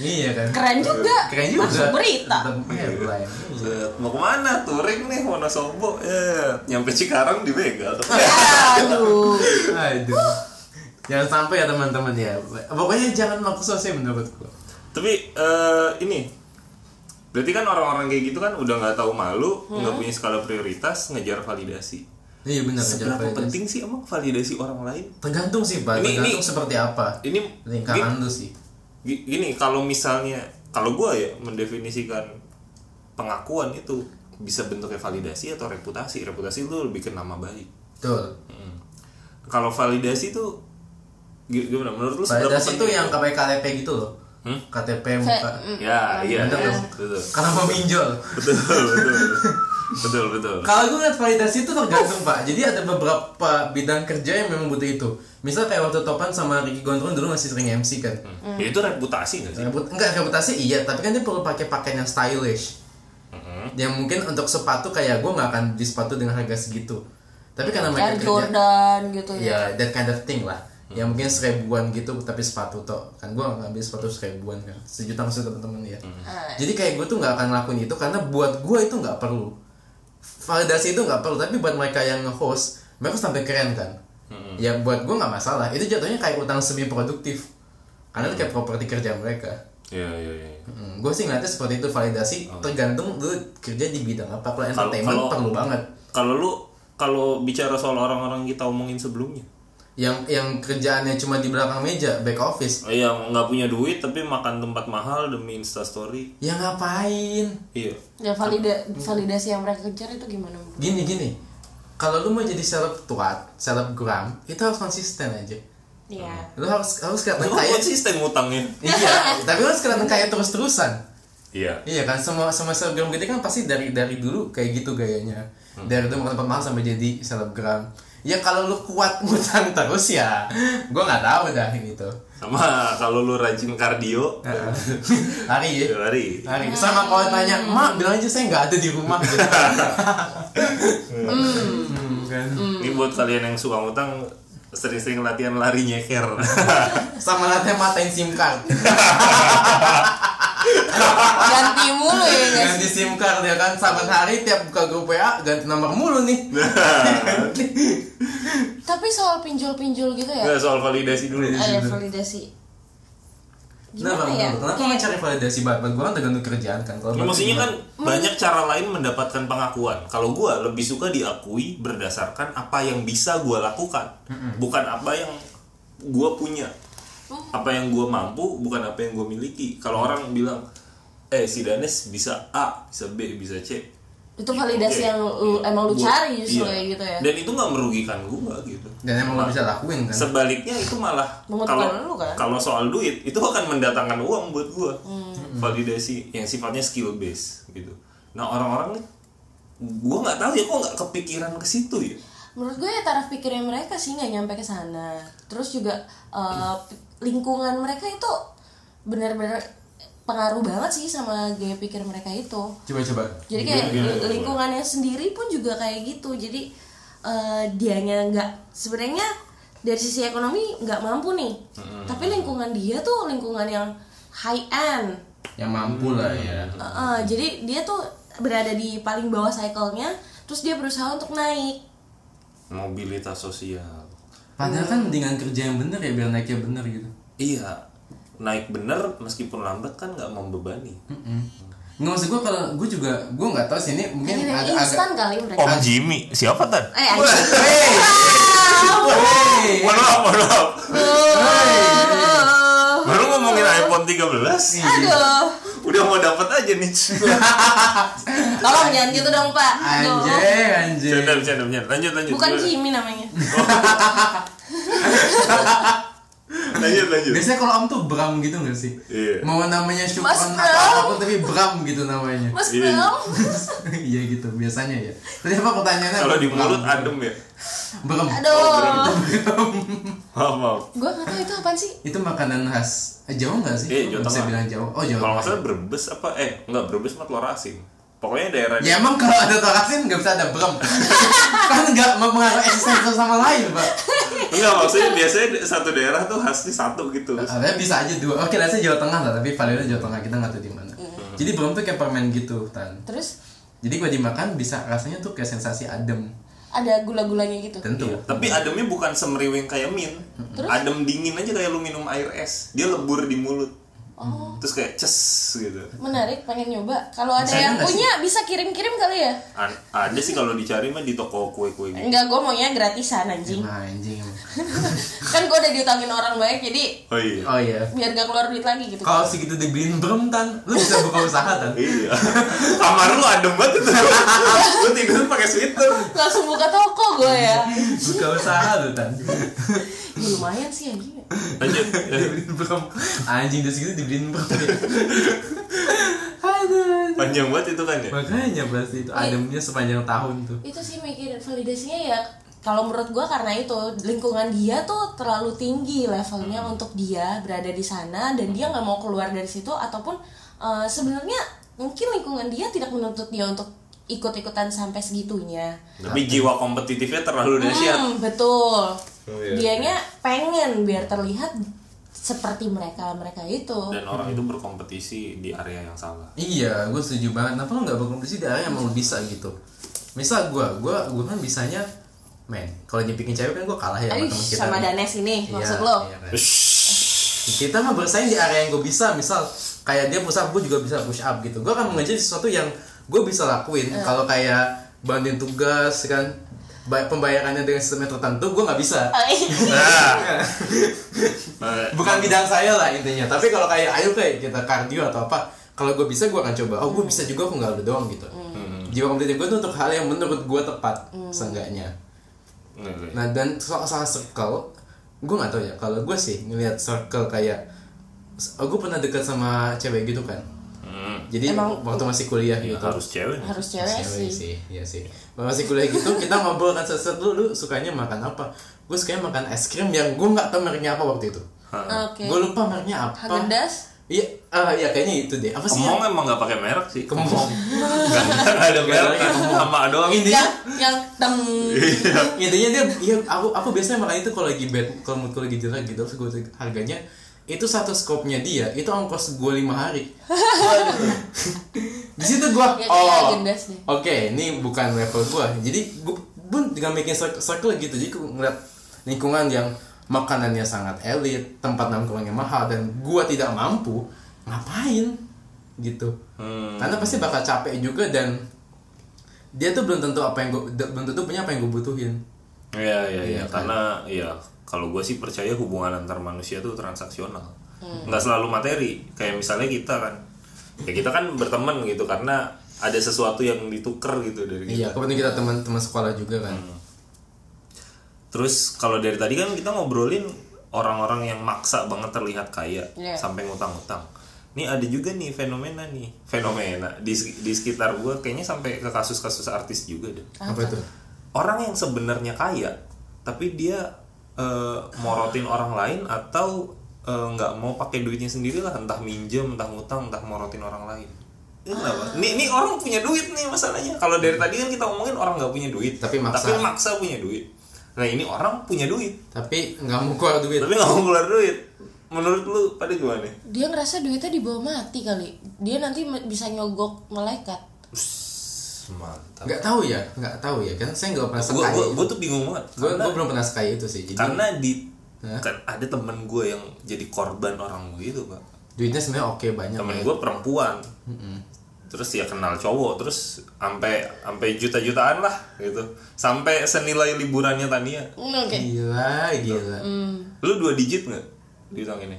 [SPEAKER 2] iya kan
[SPEAKER 3] keren juga
[SPEAKER 2] keren juga
[SPEAKER 3] masuk berita
[SPEAKER 2] Tetep headline
[SPEAKER 1] Set, Mau kemana? Touring nih Wonosobo. Eh, nyampe Cikarang [laughs] dibegal.
[SPEAKER 3] aduh
[SPEAKER 2] aduh jangan sampai ya teman-teman ya pokoknya jangan maksa sih menurutku
[SPEAKER 1] Tapi eh, ini berarti kan orang-orang kayak gitu kan udah nggak tahu malu, nggak punya skala prioritas, ngejar validasi.
[SPEAKER 2] iya benar
[SPEAKER 1] Seberapa
[SPEAKER 2] jangan validasi.
[SPEAKER 1] penting sih emang validasi orang lain?
[SPEAKER 2] Tergantung sih, Pak.
[SPEAKER 1] Ini-
[SPEAKER 2] Tergantung
[SPEAKER 1] ini-
[SPEAKER 2] seperti apa.
[SPEAKER 1] Ini
[SPEAKER 2] Lingkaran lu sih.
[SPEAKER 1] gi- gini, kalau misalnya kalau gua ya mendefinisikan pengakuan itu bisa bentuknya validasi atau reputasi. Reputasi itu lebih ke nama baik.
[SPEAKER 2] Betul.
[SPEAKER 1] Mm. Kalau validasi itu gi- gimana? Menurut lu seberapa
[SPEAKER 2] Validasi itu
[SPEAKER 1] penting?
[SPEAKER 2] yang KTP KTP gitu loh.
[SPEAKER 1] Hmm?
[SPEAKER 2] KTP
[SPEAKER 3] Fe-
[SPEAKER 2] muka.
[SPEAKER 3] mm,
[SPEAKER 1] Ya, iya,
[SPEAKER 2] Bener
[SPEAKER 1] iya,
[SPEAKER 2] dong.
[SPEAKER 1] betul,
[SPEAKER 2] Karena meminjol.
[SPEAKER 1] betul, betul, betul, betul.
[SPEAKER 2] Kalau gue ngeliat validasi itu tergantung, Pak. Jadi ada beberapa bidang kerja yang memang butuh itu. Misal kayak waktu topan sama Ricky Gondrong dulu masih sering MC kan.
[SPEAKER 1] Ya, itu reputasi nggak sih?
[SPEAKER 2] Reput- enggak reputasi iya, tapi kan dia perlu pakai pakaian yang stylish. Yang mungkin untuk sepatu kayak gue nggak akan beli sepatu dengan harga segitu. Tapi karena mereka
[SPEAKER 3] kayak
[SPEAKER 2] kerja-
[SPEAKER 3] Jordan gitu ya
[SPEAKER 2] ya that kind of thing lah yang mungkin seribuan gitu tapi sepatu toh kan gue ngambil sepatu seribuan kan sejuta maksud teman-teman ya
[SPEAKER 3] Ah.
[SPEAKER 2] jadi kayak gue tuh nggak akan ngelakuin itu karena buat gue itu nggak perlu validasi itu nggak perlu tapi buat mereka yang nge-host mereka harus tampil keren kan ya buat gue nggak masalah itu jatuhnya kayak utang semi produktif karena itu kayak properti kerja mereka
[SPEAKER 1] Iya, iya, iya.
[SPEAKER 2] gue Hmm, sih ngeliatnya seperti itu validasi tergantung lu kerja di bidang apa kalau entertainment
[SPEAKER 1] kalau-
[SPEAKER 2] perlu banget
[SPEAKER 1] Kalau lu kalau bicara soal orang-orang yang kita omongin sebelumnya,
[SPEAKER 2] yang yang kerjaannya cuma di belakang meja back office
[SPEAKER 1] Eh, yang nggak punya duit tapi makan tempat mahal demi instastory,
[SPEAKER 2] Ya ngapain?
[SPEAKER 1] iya.
[SPEAKER 3] ya valida- validasi yang mereka kejar itu gimana Bu?
[SPEAKER 2] Gini gini. Kalau lu mau jadi seleb tuat, selebgram, itu harus konsisten aja.
[SPEAKER 3] ya
[SPEAKER 2] Lu harus harus kelihatan
[SPEAKER 1] Lu
[SPEAKER 2] kaya.
[SPEAKER 1] konsisten ngutangnya.
[SPEAKER 2] iya, tapi lu harus kelihatan kaya terus-terusan.
[SPEAKER 1] Iya.
[SPEAKER 2] Iya kan semua semua selebgram gitu kan pasti dari dari dulu kayak gitu gayanya. Dari dulu makan tempat mahal sampai jadi selebgram. Ya kalau lu kuat [laughs] ngutang terus ya, gua nggak tahu dah ini tuh.
[SPEAKER 1] Sama kalau lu rajin kardio,
[SPEAKER 2] [laughs] Hari ya.
[SPEAKER 1] lari.
[SPEAKER 2] Hari.
[SPEAKER 3] Nah.
[SPEAKER 2] Sama kalau tanya, "Mak, bilang aja saya nggak ada di
[SPEAKER 3] [laughs]
[SPEAKER 2] rumah." Gitu. Hmm, kan.
[SPEAKER 1] Ini buat kalian yang suka ngutang sering-sering latihan lari nyeker.
[SPEAKER 2] sama latihan matain SIM card.
[SPEAKER 3] jangan ganti mulu ya nggak
[SPEAKER 2] ganti
[SPEAKER 3] sih?
[SPEAKER 2] SIM card ya kan saban hari tiap buka grup WA ganti nomor mulu
[SPEAKER 3] [laughs]
[SPEAKER 2] nih
[SPEAKER 3] Tapi soal pinjol-pinjol gitu ya.
[SPEAKER 1] Nggak soal validasi dulu.
[SPEAKER 3] Ada validasi.
[SPEAKER 2] Kenapa?
[SPEAKER 3] ya, Gimana ya?
[SPEAKER 2] Nah, Kenapa
[SPEAKER 3] Kayak-
[SPEAKER 2] mencari validasi banget? Buat Gue kan tergantung kerjaan kan. Kalau
[SPEAKER 1] Ya,
[SPEAKER 2] buat
[SPEAKER 1] maksudnya
[SPEAKER 2] gua-
[SPEAKER 1] kan banyak cara lain mendapatkan pengakuan. Kalau gua lebih suka diakui berdasarkan apa yang bisa gua lakukan, bukan apa yang gua punya,
[SPEAKER 3] Oh.
[SPEAKER 1] apa yang gua mampu, bukan apa yang gua miliki. Kalau orang bilang, eh si Danes bisa A, bisa B, bisa C.
[SPEAKER 3] itu validasi
[SPEAKER 1] Oke.
[SPEAKER 3] yang lu-
[SPEAKER 1] Iya.
[SPEAKER 3] emang lu
[SPEAKER 1] Gua-
[SPEAKER 3] cari justru
[SPEAKER 1] iya.
[SPEAKER 3] kayak gitu ya.
[SPEAKER 1] Dan itu nggak merugikan gua gitu.
[SPEAKER 2] dan emang lo bisa lakuin kan.
[SPEAKER 1] Sebaliknya itu malah
[SPEAKER 3] Menguntungkan
[SPEAKER 1] kalau
[SPEAKER 3] lu kan? Hmm.
[SPEAKER 1] kalau soal duit itu akan mendatangkan uang buat gua. Hmm. Validasi yang sifatnya skill based gitu. Nah, orang-orang nih gua nggak tahu ya kok nggak kepikiran ke situ ya.
[SPEAKER 3] Menurut gue ya taraf pikirnya mereka sih nggak nyampe ke sana. Terus juga eh, lingkungan mereka itu benar-benar pengaruh banget sih sama gaya pikir mereka itu.
[SPEAKER 2] Coba-coba.
[SPEAKER 3] Jadi kayak li- lingkungannya sendiri pun juga kayak gitu. Jadi eh, dianya nggak sebenarnya dari sisi ekonomi nggak mampu nih. Tapi lingkungan dia tuh lingkungan yang high end.
[SPEAKER 2] Yang mampu lah ya.
[SPEAKER 3] Heeh, jadi dia tuh berada di paling bawah cycle-nya, terus dia berusaha untuk naik.
[SPEAKER 1] Mobilitas sosial.
[SPEAKER 2] Padahal kan dengan kerja yang bener ya biar naiknya bener gitu.
[SPEAKER 1] Iya. Naik bener meskipun lambat kan nggak membebani.
[SPEAKER 2] Nggak maksud gue kalau gue juga gue nggak tahu sih ini mungkin
[SPEAKER 3] Ini
[SPEAKER 2] agak agak.
[SPEAKER 3] instan kali mereka.
[SPEAKER 1] Oh, Jimmy, siapa tan?
[SPEAKER 3] Eh, anjing.
[SPEAKER 2] Hey,
[SPEAKER 1] Eh, Mohon maaf, mohon maaf. Baru ngomongin iPhone 13
[SPEAKER 3] Aduh.
[SPEAKER 1] Udah mau dapat aja nih
[SPEAKER 3] Tolong jangan gitu dong, Pak. Aduh.
[SPEAKER 2] anjay anjay.
[SPEAKER 1] Canda, canda, canda Lanjut, lanjut
[SPEAKER 3] Bukan
[SPEAKER 1] Gimana?
[SPEAKER 3] Jimmy namanya.
[SPEAKER 1] Lanjut, lanjut
[SPEAKER 2] Biasanya kalau om tuh Bram gitu nggak sih?
[SPEAKER 1] Iya.
[SPEAKER 2] Mau namanya Syukron
[SPEAKER 3] Mas
[SPEAKER 2] atau
[SPEAKER 3] Bram.
[SPEAKER 2] apapun tapi Bram gitu namanya.
[SPEAKER 3] Mas
[SPEAKER 1] Iya.
[SPEAKER 3] Bram.
[SPEAKER 2] Iya gitu biasanya ya. Tadi apa pertanyaannya?
[SPEAKER 1] Kalau di
[SPEAKER 2] Bram.
[SPEAKER 1] mulut adem ya
[SPEAKER 2] Bram.
[SPEAKER 3] Aduh.
[SPEAKER 1] Maaf, maaf
[SPEAKER 3] Gua nggak tahu itu apaan sih.
[SPEAKER 2] Itu makanan khas eh, Jawa nggak sih?
[SPEAKER 1] Iya, Jawa
[SPEAKER 2] Gua bisa
[SPEAKER 1] Tengah.
[SPEAKER 2] bilang Jawa. Oh Jawa.
[SPEAKER 1] Kalau nggak
[SPEAKER 2] Tengah.
[SPEAKER 1] salah berbes apa Eh, nggak berbes mah telur asin Pokoknya
[SPEAKER 2] [laughs]
[SPEAKER 1] daerah
[SPEAKER 2] Ya emang kalau ada torasin nggak bisa ada
[SPEAKER 3] [laughs]
[SPEAKER 2] brem Kan nggak mempengaruhi eksistensi satu sama lain pak
[SPEAKER 1] Enggak, maksudnya biasanya di- satu daerah tuh khasnya satu gitu
[SPEAKER 2] Sebenarnya bisa aja dua Oke rasanya Jawa Tengah lah Tapi validnya Jawa Tengah kita nggak tahu di mana
[SPEAKER 3] Iya.
[SPEAKER 2] Jadi brem tuh kayak permen gitu Tan
[SPEAKER 3] Terus
[SPEAKER 2] Jadi gua dimakan bisa rasanya tuh kayak sensasi adem
[SPEAKER 3] ada gula-gulanya gitu.
[SPEAKER 2] Tentu Nah,
[SPEAKER 1] Iya, Tapi ademnya bukan semriwing kayak min Adem dingin aja kayak lu minum air es Dia lebur di mulut
[SPEAKER 3] Oh.
[SPEAKER 1] Terus kayak ces gitu
[SPEAKER 3] Menarik, pengen nyoba. Kalau ada
[SPEAKER 2] Bisa
[SPEAKER 3] yang
[SPEAKER 2] nggak sih?
[SPEAKER 3] punya bisa kirim-kirim kali ya.
[SPEAKER 1] An- Ada sih kalau dicari mah di toko kue-kue
[SPEAKER 2] Iya. Eh.
[SPEAKER 1] gitu
[SPEAKER 3] Enggak, gue maunya gratisan anjing.
[SPEAKER 2] Nah anjing emang.
[SPEAKER 3] Kan gue udah diutangin orang banyak, jadi
[SPEAKER 1] Oh iya
[SPEAKER 2] Oh iya
[SPEAKER 3] biar gak keluar duit lagi gitu.
[SPEAKER 2] Kalau segitu dibeliin brem Tan Lu bisa buka usaha Tan
[SPEAKER 1] Iya. [laughs] Kamar lu adem banget
[SPEAKER 2] [laughs]
[SPEAKER 1] itu. lu tidur pakai sweater.
[SPEAKER 3] langsung buka toko gue
[SPEAKER 2] Iya.
[SPEAKER 3] ya
[SPEAKER 2] Buka usaha tuh
[SPEAKER 3] [laughs]
[SPEAKER 2] Tan
[SPEAKER 3] Ya, lumayan sih anjing
[SPEAKER 1] Lanjut.
[SPEAKER 2] Dibeliin brem Anjing udah segitu dibeliin brem Aduh
[SPEAKER 1] Panjang banget itu kan ya.
[SPEAKER 2] Makanya pasti itu
[SPEAKER 3] Iya.
[SPEAKER 2] ademnya sepanjang tahun tuh.
[SPEAKER 3] itu sih mikirin validasinya ya kalau menurut gue karena itu lingkungan dia tuh terlalu tinggi levelnya untuk dia berada di sana dan dia nggak mau keluar dari situ ataupun eh, sebenarnya mungkin lingkungan dia tidak menuntut dia untuk ikut-ikutan sampai segitunya
[SPEAKER 1] Tapi jiwa kompetitifnya terlalu dahsyat.
[SPEAKER 3] Hmm, betul
[SPEAKER 1] iya.
[SPEAKER 3] dianya pengen biar terlihat seperti mereka mereka itu
[SPEAKER 1] Dan orang itu berkompetisi di area yang salah.
[SPEAKER 2] Iya, gue setuju banget. Kenapa lo nggak berkompetisi di area yang emang lo bisa gitu? Misal gue, gue, gue kan bisanya, men. Kalau nyepikin cewek kan gue kalah ya
[SPEAKER 3] Ayuh,
[SPEAKER 2] sama teman kita.
[SPEAKER 3] sama
[SPEAKER 2] nih.
[SPEAKER 3] Danes ini
[SPEAKER 2] Iya,
[SPEAKER 3] maksud lo
[SPEAKER 2] iya kan.
[SPEAKER 1] Shhh.
[SPEAKER 2] Kita mah bersaing di area yang gue bisa. Misal kayak dia push up, gue juga bisa push up gitu. Gue akan mengejar sesuatu yang gue bisa lakuin. Kalau kayak banding tugas kan, bay- pembayarannya dengan sistem yang tertentu, gue nggak bisa.
[SPEAKER 1] Nah. Eh,
[SPEAKER 2] [laughs] bukan bidang saya lah intinya tapi kalau kayak ayo kayak kita kardio atau apa kalau gue bisa gue akan coba oh gue bisa juga aku nggak lu doang gitu jiwa kompetitif gue tuh untuk hal yang menurut gue tepat seenggaknya
[SPEAKER 1] nggak,
[SPEAKER 2] nah dan soal soal circle gue nggak tahu ya kalau gue sih ngelihat circle kayak oh, gue pernah dekat sama cewek gitu kan
[SPEAKER 1] Hmm.
[SPEAKER 2] jadi
[SPEAKER 3] Emang-
[SPEAKER 2] waktu masih kuliah
[SPEAKER 1] nggak.
[SPEAKER 2] gitu
[SPEAKER 1] Harus cewek. nih.
[SPEAKER 3] harus cewek
[SPEAKER 2] Cewek
[SPEAKER 3] sih
[SPEAKER 2] sih, iya sih. Masih kuliah gitu kita ngobrol kan seset lu, lu sukanya makan apa? Gue sukanya makan es krim yang gue nggak tahu mereknya apa waktu itu.
[SPEAKER 3] oke
[SPEAKER 2] Gue lupa mereknya apa.
[SPEAKER 3] Haagen Dazs?
[SPEAKER 2] Iya, ah, iya kayaknya itu deh. Apa sih?
[SPEAKER 1] Kemong
[SPEAKER 2] ya?
[SPEAKER 1] emang nggak pakai merek sih. [laughs]
[SPEAKER 2] Kemong.
[SPEAKER 1] Nggak nggak ada merek. Sama doang.
[SPEAKER 2] intinya,
[SPEAKER 3] yang yang teng
[SPEAKER 2] intinya dia, iya aku aku biasanya makan itu kalau lagi bad, kalau mood gue lagi jelek gitu, terus gue harganya itu satu skopnya dia itu ongkos gue lima hari di situ gue
[SPEAKER 3] [laughs] Ya, kayak
[SPEAKER 2] oh oke
[SPEAKER 3] agendas deh.
[SPEAKER 2] ini bukan level gue jadi gue pun dengan making circle, circle gitu jadi gue ngeliat lingkungan yang makanannya sangat elit tempat nongkrongnya mahal dan gue tidak mampu ngapain gitu
[SPEAKER 1] Hmm.
[SPEAKER 2] karena pasti bakal capek juga dan dia tuh belum tentu apa yang gue belum tentu punya apa yang gue butuhin
[SPEAKER 1] Iya iya iya
[SPEAKER 2] Iya, kan?
[SPEAKER 1] karena iya kalau gue sih percaya hubungan antar manusia tuh transaksional. Nggak selalu materi. Kayak misalnya kita kan. Ya kita kan berteman gitu karena ada sesuatu yang dituker gitu dari kita.
[SPEAKER 2] iya kebetulan kita teman-teman sekolah juga kan
[SPEAKER 1] Hmm. Terus kalau dari tadi kan kita ngobrolin orang-orang yang maksa banget terlihat kaya
[SPEAKER 3] Iya.
[SPEAKER 1] sampai ngutang-ngutang. Nih ada juga nih fenomena nih, fenomena di di sekitar gua kayaknya sampai ke kasus-kasus artis juga deh.
[SPEAKER 2] apa itu
[SPEAKER 1] Orang yang sebenarnya kaya tapi dia eh, morotin orang lain atau eh, nggak mau pakai duitnya sendiri lah entah minjem entah ngutang entah morotin orang lain ini kenapa? Nih, nih orang punya duit nih masalahnya. Kalau dari tadi kan kita ngomongin orang nggak punya duit,
[SPEAKER 2] Tapi maksa.
[SPEAKER 1] tapi maksa punya duit. Nah ini orang punya duit,
[SPEAKER 2] tapi nggak mau keluar duit
[SPEAKER 1] tapi nggak mau keluar duit. Menurut lu pada gimana?
[SPEAKER 3] dia ngerasa duitnya dibawa mati kali dia nanti me- bisa nyogok malaikat
[SPEAKER 1] Mantap.
[SPEAKER 2] nggak tahu ya nggak tahu ya kan saya nggak pernah
[SPEAKER 1] Gue
[SPEAKER 2] sekaya
[SPEAKER 1] gue
[SPEAKER 2] itu.
[SPEAKER 1] gue tuh bingung banget.
[SPEAKER 2] gue
[SPEAKER 1] Karena-
[SPEAKER 2] belum pernah sekaya itu sih jadi
[SPEAKER 1] karena di
[SPEAKER 2] Hah?
[SPEAKER 1] kan ada temen gue yang jadi korban orang begitu pak
[SPEAKER 2] duitnya sebenarnya oke banyak
[SPEAKER 1] temen
[SPEAKER 2] ya.
[SPEAKER 1] gue perempuan terus ya kenal cowok terus sampai sampai juta jutaan lah gitu sampai senilai liburannya Tania
[SPEAKER 3] Hmm, oke
[SPEAKER 2] ya. gila gila
[SPEAKER 3] Hmm,
[SPEAKER 1] lu dua digit nggak di tahun ini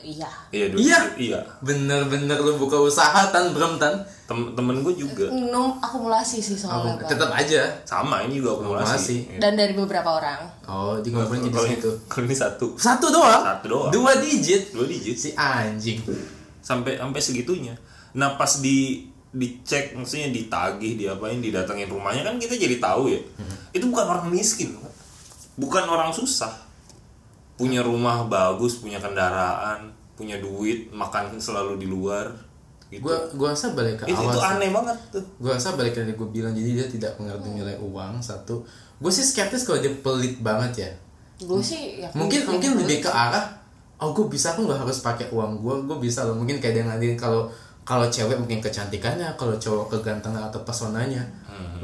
[SPEAKER 3] iya
[SPEAKER 1] iya dua
[SPEAKER 2] Iya.
[SPEAKER 1] digit iya
[SPEAKER 2] bener-bener lu buka usaha tan belum tan
[SPEAKER 1] Tem- temen gue juga
[SPEAKER 3] no akumulasi sih soalnya Pak.
[SPEAKER 2] tetap aja
[SPEAKER 1] sama ini juga
[SPEAKER 2] Akumulasi.
[SPEAKER 1] akumulasi
[SPEAKER 3] dan dari beberapa orang
[SPEAKER 2] oh di ngobrolin
[SPEAKER 1] Kalau-
[SPEAKER 2] jadi situ
[SPEAKER 1] kalau ini satu
[SPEAKER 2] satu doang
[SPEAKER 1] Satu doang.
[SPEAKER 2] dua digit
[SPEAKER 1] dua digit
[SPEAKER 2] si anjing
[SPEAKER 1] sampai sampai segitunya nah pas di dicek maksudnya ditagih diapain didatengin rumahnya kan kita jadi tahu ya
[SPEAKER 2] Hmm.
[SPEAKER 1] itu bukan orang miskin Pak. bukan orang susah punya rumah bagus punya kendaraan punya duit makan selalu di luar gitu
[SPEAKER 2] gue gua rasa balik ke
[SPEAKER 1] itu,
[SPEAKER 2] awal
[SPEAKER 1] itu
[SPEAKER 2] sih.
[SPEAKER 1] aneh banget tuh
[SPEAKER 2] gue rasa balik lagi gue bilang jadi dia tidak mengerti nilai uang satu gue sih skeptis kalau dia pelit banget ya
[SPEAKER 3] gue sih ya gitu. yakin
[SPEAKER 2] mungkin
[SPEAKER 3] dia
[SPEAKER 2] mungkin
[SPEAKER 3] pelit.
[SPEAKER 2] lebih ke arah oh gue bisa aku nggak harus pakai uang gue gue bisa loh mungkin kayak dengan dia kalau kalau cewek mungkin kecantikannya kalau cowok kegantengan atau pesonanya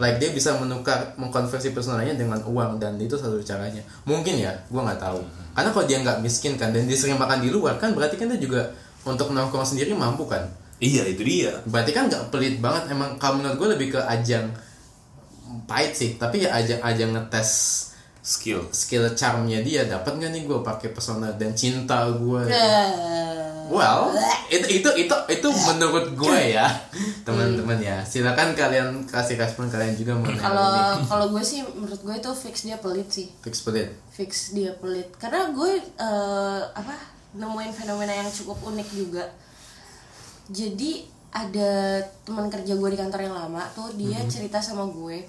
[SPEAKER 2] like dia bisa menukar mengkonversi pesonanya dengan uang dan itu satu caranya mungkin ya gue nggak tahu karena kalau dia nggak miskin kan dan dia sering makan di luar kan berarti kan dia juga untuk nongkrong sendiri mampu kan
[SPEAKER 1] iya itu dia
[SPEAKER 2] berarti kan nggak pelit banget emang kalau menurut gue lebih ke ajang pahit sih tapi ya ajang ajang ngetes
[SPEAKER 1] skill
[SPEAKER 2] skill charmnya dia dapat nggak nih gue pakai pesona dan cinta gue
[SPEAKER 3] Eh,
[SPEAKER 2] well itu itu itu itu menurut gue ya teman-teman ya silakan kalian kasih respon kalian juga mengenai
[SPEAKER 3] kalau
[SPEAKER 2] hal ini
[SPEAKER 3] kalau gue sih menurut gue itu fix dia pelit sih
[SPEAKER 2] fix pelit
[SPEAKER 3] fix dia pelit karena gue eh, apa nemuin fenomena yang cukup unik juga jadi ada teman kerja gue di kantor yang lama tuh dia cerita sama gue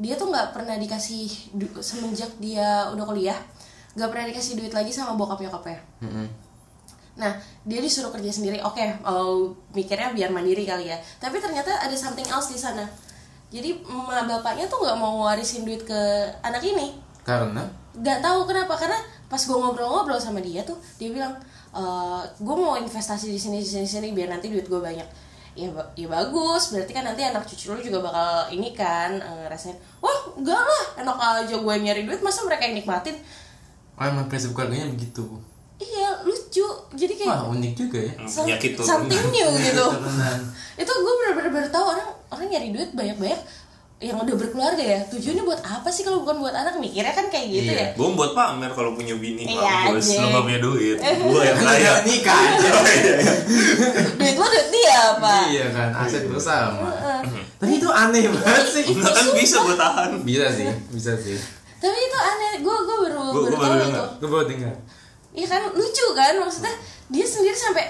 [SPEAKER 3] dia tuh nggak pernah dikasih du- semenjak dia udah kuliah nggak pernah dikasih duit lagi sama bokap nyokapnya Nah, dia disuruh kerja sendiri. Oke, oh, mikirnya biar mandiri kali ya. Tapi ternyata ada something else di sana. Jadi emak bapaknya tuh nggak mau warisin duit ke anak ini.
[SPEAKER 2] karena
[SPEAKER 3] Nggak tahu kenapa karena pas gue ngobrol-ngobrol sama dia tuh dia bilang "Eh, gue mau investasi di sini di sini di sini biar nanti duit gue banyak. Ya, ba- ya bagus, berarti kan nanti anak cucu lu juga bakal ini kan eh, ngerasain Wah enggak lah, enak aja gue nyari duit masa mereka yang nikmatin
[SPEAKER 2] oh emang prinsip keluarganya begitu
[SPEAKER 3] Iya lucu, jadi kayak
[SPEAKER 2] wah unik juga ya
[SPEAKER 3] Some-
[SPEAKER 1] penyakit turunan
[SPEAKER 3] something
[SPEAKER 2] [laughs]
[SPEAKER 3] new gitu
[SPEAKER 2] Turunan.
[SPEAKER 3] itu gue bener-bener baru tahu orang orang nyari duit banyak-banyak yang udah berkeluarga ya tujuannya buat apa sih kalau bukan buat anak mikirnya kan kayak gitu
[SPEAKER 2] Iya.
[SPEAKER 1] gue buat pamer kalau punya bini
[SPEAKER 3] Iya,
[SPEAKER 1] mampus lu
[SPEAKER 3] anjing.
[SPEAKER 1] nggak punya duit gue yang
[SPEAKER 3] [laughs]
[SPEAKER 1] kaya
[SPEAKER 2] Jangan nikah aja
[SPEAKER 3] ya duit lo duit dia apa
[SPEAKER 2] iya kan aset bersama tapi itu aneh banget sih
[SPEAKER 1] Nggak kan bisa gue tahan
[SPEAKER 2] bisa sih bisa sih
[SPEAKER 3] tapi itu aneh gue gue baru
[SPEAKER 1] Gua- gua
[SPEAKER 3] baru tahu
[SPEAKER 1] baru
[SPEAKER 3] itu
[SPEAKER 1] dengar.
[SPEAKER 2] gue baru dengar
[SPEAKER 3] iya kan lucu kan maksudnya dia sendiri sampai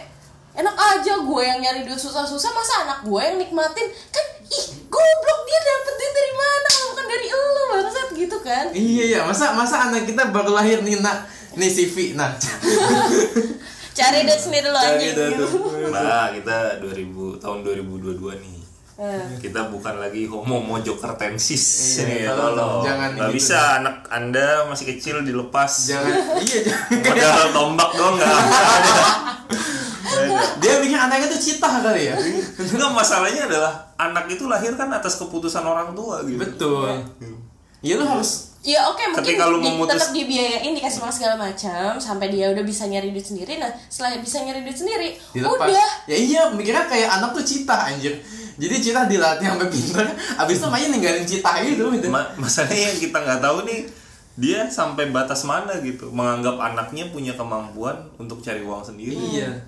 [SPEAKER 3] enak aja gue yang nyari duit susah-susah masa anak gue yang nikmatin kan ih goblok dia dapet duit dari mana kalau bukan dari elu bangsat gitu kan
[SPEAKER 2] Iya iya, masa masa anak kita baru lahir nih nak nih si Vi nah.
[SPEAKER 3] cari duit sendiri lo anjing
[SPEAKER 2] Cari duit.
[SPEAKER 3] gitu.
[SPEAKER 1] Nah, kita 2000 tahun 2022 nih.
[SPEAKER 3] Iya. Eh,
[SPEAKER 1] Kita bukan lagi homo mojokertensis.
[SPEAKER 2] Iya,
[SPEAKER 1] Iya,
[SPEAKER 2] tolong,
[SPEAKER 1] tolong.
[SPEAKER 2] jangan
[SPEAKER 1] Nggak
[SPEAKER 2] gitu
[SPEAKER 1] bisa anak Anda masih kecil dilepas.
[SPEAKER 2] jangan iya jangan
[SPEAKER 1] Padahal tombak doang nggak ada.
[SPEAKER 2] [laughs] dia bikin anaknya tuh cita kali ya
[SPEAKER 1] Iya. Enggak masalahnya adalah anak itu lahir kan atas keputusan orang tua gitu.
[SPEAKER 2] betul ya lu harus
[SPEAKER 3] Ya oke mungkin
[SPEAKER 1] Ketika lu
[SPEAKER 3] di-
[SPEAKER 1] memutus-
[SPEAKER 3] tetap dibiayain dikasih makan segala macam sampai dia udah bisa nyari duit sendiri. Nah setelah bisa nyari duit sendiri,
[SPEAKER 2] dilepas
[SPEAKER 3] udah
[SPEAKER 2] ya iya mikirnya kayak anak tuh cita anjir jadi cita dilatih sampai pinter abis itu main ninggalin cita itu gitu
[SPEAKER 1] Ma- masalahnya yang kita nggak tahu nih dia sampai batas mana gitu menganggap anaknya punya kemampuan untuk cari uang sendiri.
[SPEAKER 2] iya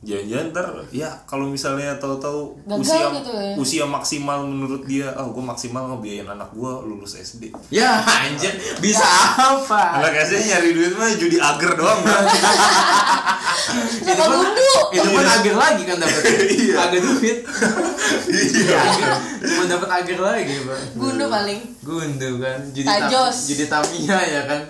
[SPEAKER 1] Jangan-jangan ntar ya kalau misalnya tahu-tahu
[SPEAKER 3] Gagal
[SPEAKER 1] usia
[SPEAKER 3] gitu ya.
[SPEAKER 1] usia maksimal menurut dia, ah gue maksimal ngebiayain anak gue lulus SD.
[SPEAKER 2] ya anjir bisa
[SPEAKER 3] Ah.
[SPEAKER 2] apa
[SPEAKER 1] Anak SD nyari duit mah judi ager doang.
[SPEAKER 3] [laughs]
[SPEAKER 1] Bang.
[SPEAKER 3] sama bumbu.
[SPEAKER 2] itu pun agar lagi kan dapat
[SPEAKER 1] [laughs] Iya.
[SPEAKER 2] agar duit
[SPEAKER 1] Iya.
[SPEAKER 2] agar cuma dapat agar lagi bang
[SPEAKER 3] Gundu paling.
[SPEAKER 2] Gundu kan Judi
[SPEAKER 3] Tajos.
[SPEAKER 2] Tam- Judi Tamiya ya kan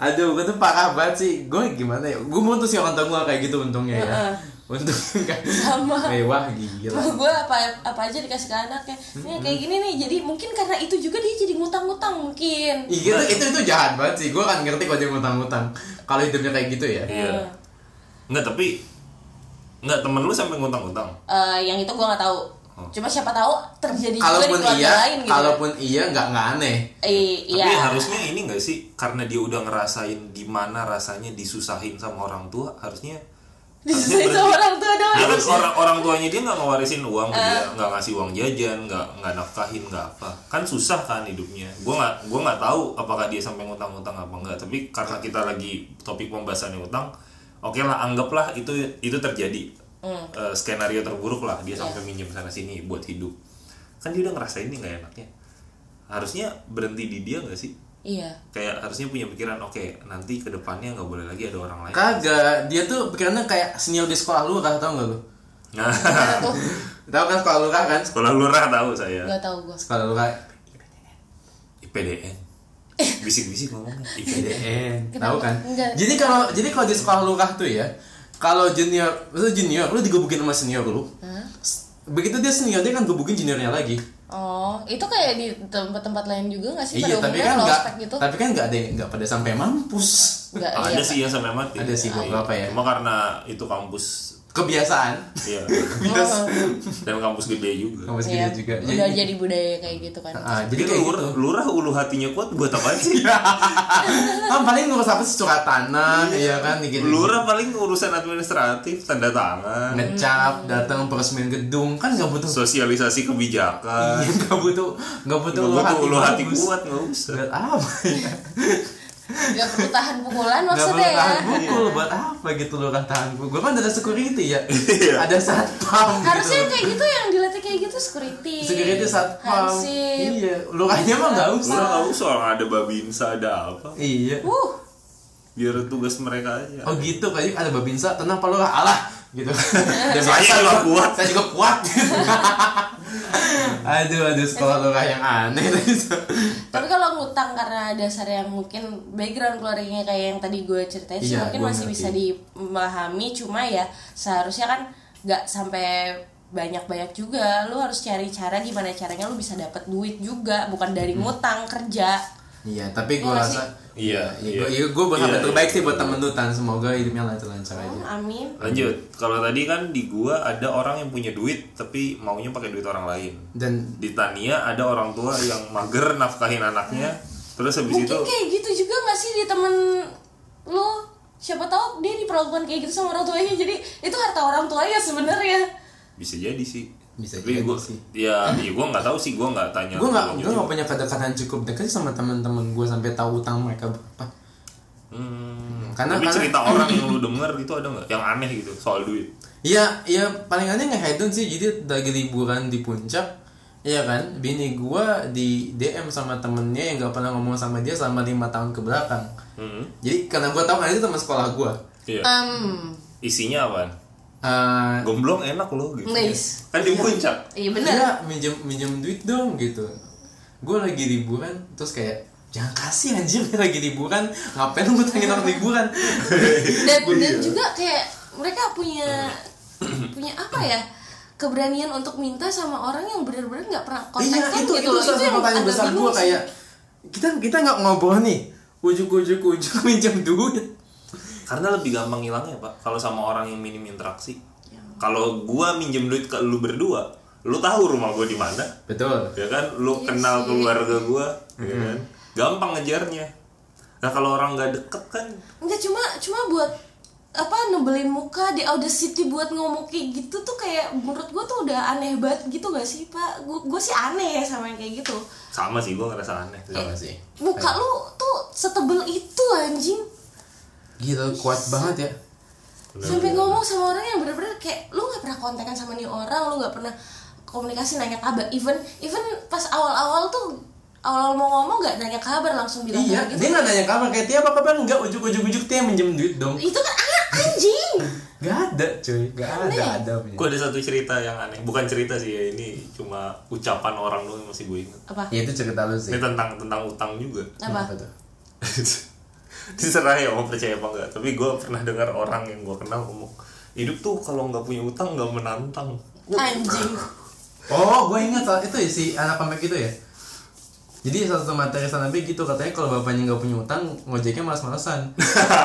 [SPEAKER 2] Aduh gue tuh parah banget sih Gue gimana ya Gue mau tuh sih orang tua gue kayak gitu untungnya ya
[SPEAKER 3] Heeh.
[SPEAKER 2] Untung kan
[SPEAKER 3] Sama.
[SPEAKER 2] Mewah gila
[SPEAKER 3] gue apa apa aja dikasih ke anaknya nih kayak gini nih jadi mungkin karena itu juga dia jadi ngutang-ngutang mungkin
[SPEAKER 2] Ih, gitu, itu itu jahat banget sih gue kan ngerti kalau dia ngutang-ngutang kalau hidupnya kayak gitu ya
[SPEAKER 1] Iya. Nggak tapi nggak temen lu sampai ngutang-ngutang.
[SPEAKER 3] Eh, yang itu gue nggak tahu cuma siapa tahu terjadi
[SPEAKER 2] Oh.
[SPEAKER 3] juga di
[SPEAKER 2] kalaupun
[SPEAKER 3] keluarga
[SPEAKER 2] iya
[SPEAKER 3] lain gitu
[SPEAKER 2] kalaupun iya nggak nggak aneh
[SPEAKER 3] Eh, iya
[SPEAKER 1] Tapi
[SPEAKER 3] [laughs]
[SPEAKER 1] harusnya ini enggak sih karena dia udah ngerasain gimana rasanya disusahin sama orang tua, harusnya
[SPEAKER 3] disusahin sama orang tua doang
[SPEAKER 1] Harus orang orang tuanya dia nggak ngewarisin uang ke dia, nggak ngasih uang jajan, nggak nggak nafkahin, nggak apa. Kan susah kan hidupnya. Gue nggak gue nggak tahu apakah dia sampai ngutang-ngutang apa enggak. Tapi karena kita lagi topik pembahasannya utang, oke lah anggaplah itu itu terjadi Eh, skenario terburuk lah dia sampai minjem sana sini buat hidup. Kan dia udah ngerasain nih nggak enaknya. Harusnya berhenti di dia nggak sih?
[SPEAKER 3] iya
[SPEAKER 1] Kayak harusnya punya pikiran oke nanti kedepannya nggak boleh lagi ada orang [laughs] lain.
[SPEAKER 2] Kan- kagak dia tuh pikirannya kayak senior di sekolah lu kan tau nggak lu
[SPEAKER 1] Nah,
[SPEAKER 3] Gimana tuh
[SPEAKER 2] tau kan sekolah lu kan
[SPEAKER 1] sekolah lurah tahu saya.
[SPEAKER 3] nggak tahu gue
[SPEAKER 2] sekolah lu kan
[SPEAKER 1] IPDN bisik-bisik ngomongnya
[SPEAKER 2] [laughs]
[SPEAKER 1] IPDN
[SPEAKER 2] IPDN
[SPEAKER 3] Kenapa?
[SPEAKER 2] tahu kan
[SPEAKER 3] Enggak.
[SPEAKER 2] jadi kalau jadi kalau di sekolah lurah tuh ya kalau junior lu junior lu digebukin sama senior lu
[SPEAKER 3] Hah?
[SPEAKER 2] S- begitu dia senior dia kan gebukin juniornya lagi
[SPEAKER 3] oh itu kayak di tempat-tempat lain juga nggak sih
[SPEAKER 2] iya
[SPEAKER 3] pada
[SPEAKER 2] tapi
[SPEAKER 3] umumnya
[SPEAKER 2] kan
[SPEAKER 3] low
[SPEAKER 2] nggak
[SPEAKER 3] spec gitu
[SPEAKER 2] tapi ya. kan nggak ada nggak pada sampai
[SPEAKER 3] [laughs]
[SPEAKER 2] mampus
[SPEAKER 3] nggak
[SPEAKER 1] ada
[SPEAKER 3] iya
[SPEAKER 1] sih
[SPEAKER 3] [laughs]
[SPEAKER 1] yang sampai mati Iya.
[SPEAKER 2] Ada sih beberapa ya.
[SPEAKER 1] cuma karena itu kampus
[SPEAKER 2] kebiasaan [laughs]
[SPEAKER 1] ya
[SPEAKER 3] Oh,
[SPEAKER 1] dan kampus gede juga
[SPEAKER 2] kampus gede
[SPEAKER 3] iya.
[SPEAKER 2] gitu juga
[SPEAKER 3] udah jadi budaya kayak gitu kan
[SPEAKER 2] Ah, jadi
[SPEAKER 1] jadi
[SPEAKER 2] kayak
[SPEAKER 1] lurah,
[SPEAKER 2] gitu.
[SPEAKER 1] lurah ulu hatinya kuat buat apa
[SPEAKER 2] [laughs]
[SPEAKER 1] sih
[SPEAKER 2] Kan paling ngurus apa sih surat tanah, iya kan gitu.
[SPEAKER 1] lurah paling urusan administratif tanda
[SPEAKER 2] Nah.
[SPEAKER 1] tangan
[SPEAKER 3] Hmm.
[SPEAKER 2] ngecap, datang peresmian gedung kan nggak butuh
[SPEAKER 1] sosialisasi kebijakan
[SPEAKER 2] [laughs] nggak butuh nggak butuh
[SPEAKER 1] Nggak butuh ulu hati
[SPEAKER 2] Iya, bagus.
[SPEAKER 1] kuat nggak usah
[SPEAKER 2] Buat apa ya?
[SPEAKER 3] nggak perlu tahan pukulan
[SPEAKER 2] Gak perlu
[SPEAKER 3] maksudnya ya
[SPEAKER 2] tahan pukul buat apa gitu loh kan tahan pukul. Gue kan ada security ya.
[SPEAKER 1] Iya.
[SPEAKER 2] ada satpam. gitu.
[SPEAKER 3] Harusnya kayak gitu yang dilatih kayak gitu security.
[SPEAKER 2] security satpam.
[SPEAKER 3] Hansip.
[SPEAKER 2] Iya, lurahnya mah nggak usah.
[SPEAKER 1] lurah nggak usah orang ada babinsa ada apa
[SPEAKER 2] Iya.
[SPEAKER 3] Uh,
[SPEAKER 1] biar tugas mereka aja
[SPEAKER 2] Oh gitu kayak ada babinsa tenang pak lurah alah
[SPEAKER 1] [laughs]
[SPEAKER 2] gitu. Dan
[SPEAKER 1] Saya
[SPEAKER 2] biasa,
[SPEAKER 1] juga
[SPEAKER 2] Pak.
[SPEAKER 1] kuat.
[SPEAKER 2] Saya juga kuat. [laughs] aduh aduh sekolah lurah yang aneh.
[SPEAKER 3] tapi kalau ngutang karena dasar yang mungkin background keluarganya kayak yang tadi gue ceritain sih
[SPEAKER 2] Iya,
[SPEAKER 3] mungkin
[SPEAKER 2] gua
[SPEAKER 3] masih
[SPEAKER 2] ngerti.
[SPEAKER 3] bisa dipahami cuma ya seharusnya kan nggak sampai banyak-banyak juga lu harus cari cara gimana caranya lu bisa dapat duit juga bukan dari
[SPEAKER 2] Hmm.
[SPEAKER 3] ngutang kerja
[SPEAKER 2] Iya tapi gue
[SPEAKER 3] Iya,
[SPEAKER 2] rasa
[SPEAKER 1] iya
[SPEAKER 2] Iya, gue berharap yang terbaik sih buat temen lu Tan Semoga hidupnya lancar-lancar aja
[SPEAKER 3] Hmm, amin
[SPEAKER 1] lanjut kalau tadi kan di gua ada orang yang punya duit tapi maunya pakai duit orang lain
[SPEAKER 2] Dan
[SPEAKER 1] di Tania ada orang tua yang mager nafkahin anaknya terus habis
[SPEAKER 3] mungkin
[SPEAKER 1] itu
[SPEAKER 3] kayak gitu juga nggak sih di temen lu siapa tahu dia diperlakukan kayak gitu sama orang tuanya jadi itu harta orang tuanya sebenarnya
[SPEAKER 1] bisa jadi sih
[SPEAKER 2] Bisa
[SPEAKER 1] Tapi
[SPEAKER 2] jadi
[SPEAKER 1] gua,
[SPEAKER 2] sih.
[SPEAKER 1] ya ya gue nggak tahu sih gue nggak tanya
[SPEAKER 2] gue gak,
[SPEAKER 1] orang
[SPEAKER 2] gue
[SPEAKER 1] tuanya
[SPEAKER 2] gak
[SPEAKER 1] juga.
[SPEAKER 2] punya kedekatan cukup dekat sih sama temen-temen gue sampai tahu utang mereka berapa
[SPEAKER 1] Hmm,
[SPEAKER 2] Karena-
[SPEAKER 1] tapi
[SPEAKER 2] karena-
[SPEAKER 1] cerita orang yang lu denger itu ada nggak yang aneh gitu soal duit
[SPEAKER 2] Iya, iya paling aneh ngehedon sih jadi lagi liburan di puncak Iya kan, bini gua di DM sama temennya yang gak pernah ngomong sama dia selama lima tahun ke belakang.
[SPEAKER 1] Hmm,
[SPEAKER 2] Jadi karena gua tahu kan itu teman sekolah gua.
[SPEAKER 1] iya.
[SPEAKER 3] Um,
[SPEAKER 1] isinya apaan
[SPEAKER 2] Eh,
[SPEAKER 1] gomblong enak loh gitu
[SPEAKER 3] Nice.
[SPEAKER 1] kan di puncak
[SPEAKER 3] iya benar.
[SPEAKER 2] Iya, minjem minjem duit dong gitu. Gue lagi liburan terus kayak jangan kasih anjir [laughs] lagi liburan ngapain lu ngutangin orang liburan Iya.
[SPEAKER 3] Dan, dan juga kayak mereka punya punya apa ya? keberanian untuk minta sama orang yang benar-benar nggak pernah kontak
[SPEAKER 2] Iya
[SPEAKER 3] kan
[SPEAKER 2] itu
[SPEAKER 3] gitu
[SPEAKER 2] itu
[SPEAKER 3] loh.
[SPEAKER 2] salah satu
[SPEAKER 3] yang
[SPEAKER 2] pertanyaan
[SPEAKER 3] agak
[SPEAKER 2] besar
[SPEAKER 3] bingung
[SPEAKER 2] gue
[SPEAKER 3] sih.
[SPEAKER 2] kayak kita kita nggak ngobrol nih ujuk-ujuk ujuk minjem duit
[SPEAKER 1] Karena lebih gampang ngilangnya pak Kalau sama orang yang minim interaksi Kalau gua minjem duit ke lu berdua Lu tahu rumah gua di mana
[SPEAKER 2] betul
[SPEAKER 1] Ya kan Lu kenal keluarga gua ya kan? Gampang ngejarnya Nah kalau orang nggak deket kan
[SPEAKER 3] Enggak cuma cuma buat apa nebelin muka di audacity buat ngomong kayak gitu tuh kayak menurut gue tuh udah aneh banget gitu gak sih pak gue sih aneh ya sama yang kayak gitu
[SPEAKER 1] Sama sih gua ngerasa aneh
[SPEAKER 2] sama sih
[SPEAKER 3] muka lu tuh setebel itu anjing
[SPEAKER 2] gila kuat banget ya
[SPEAKER 3] sampai ngomong sama orang yang bener-bener kayak lu nggak pernah kontekan sama nih orang lu nggak pernah komunikasi nanya kabar even even pas awal-awal tuh awal mau ngomong nggak nanya kabar langsung bilang
[SPEAKER 2] iya dia
[SPEAKER 3] kayak gitu
[SPEAKER 2] nggak nanya kabar kayak tiap apa kabar nggak ujuk-ujuk ujuk dia minjem duit dong
[SPEAKER 3] itu kan anak anjing
[SPEAKER 2] nggak ada cuy nggak ada
[SPEAKER 3] Aneh.
[SPEAKER 2] ada punya
[SPEAKER 1] Gue ada satu cerita yang aneh Bukan cerita sih ya Ini cuma ucapan orang doang yang masih gue ingat
[SPEAKER 3] apa
[SPEAKER 2] ya itu cerita lu sih
[SPEAKER 1] Ini tentang tentang utang juga
[SPEAKER 3] apa
[SPEAKER 2] Kenapa tuh?
[SPEAKER 1] [laughs] Terserah ya mau percaya apa enggak Tapi gue pernah dengar orang yang gue kenal ngomong Hidup tuh kalau nggak punya utang nggak menantang
[SPEAKER 3] anjing
[SPEAKER 2] Oh, gue ingat soal itu ya, si anak pamek itu ya. Jadi salah satu materi sanambi gitu katanya kalau bapaknya nggak punya utang ngojeknya [laughs] malas-malasan.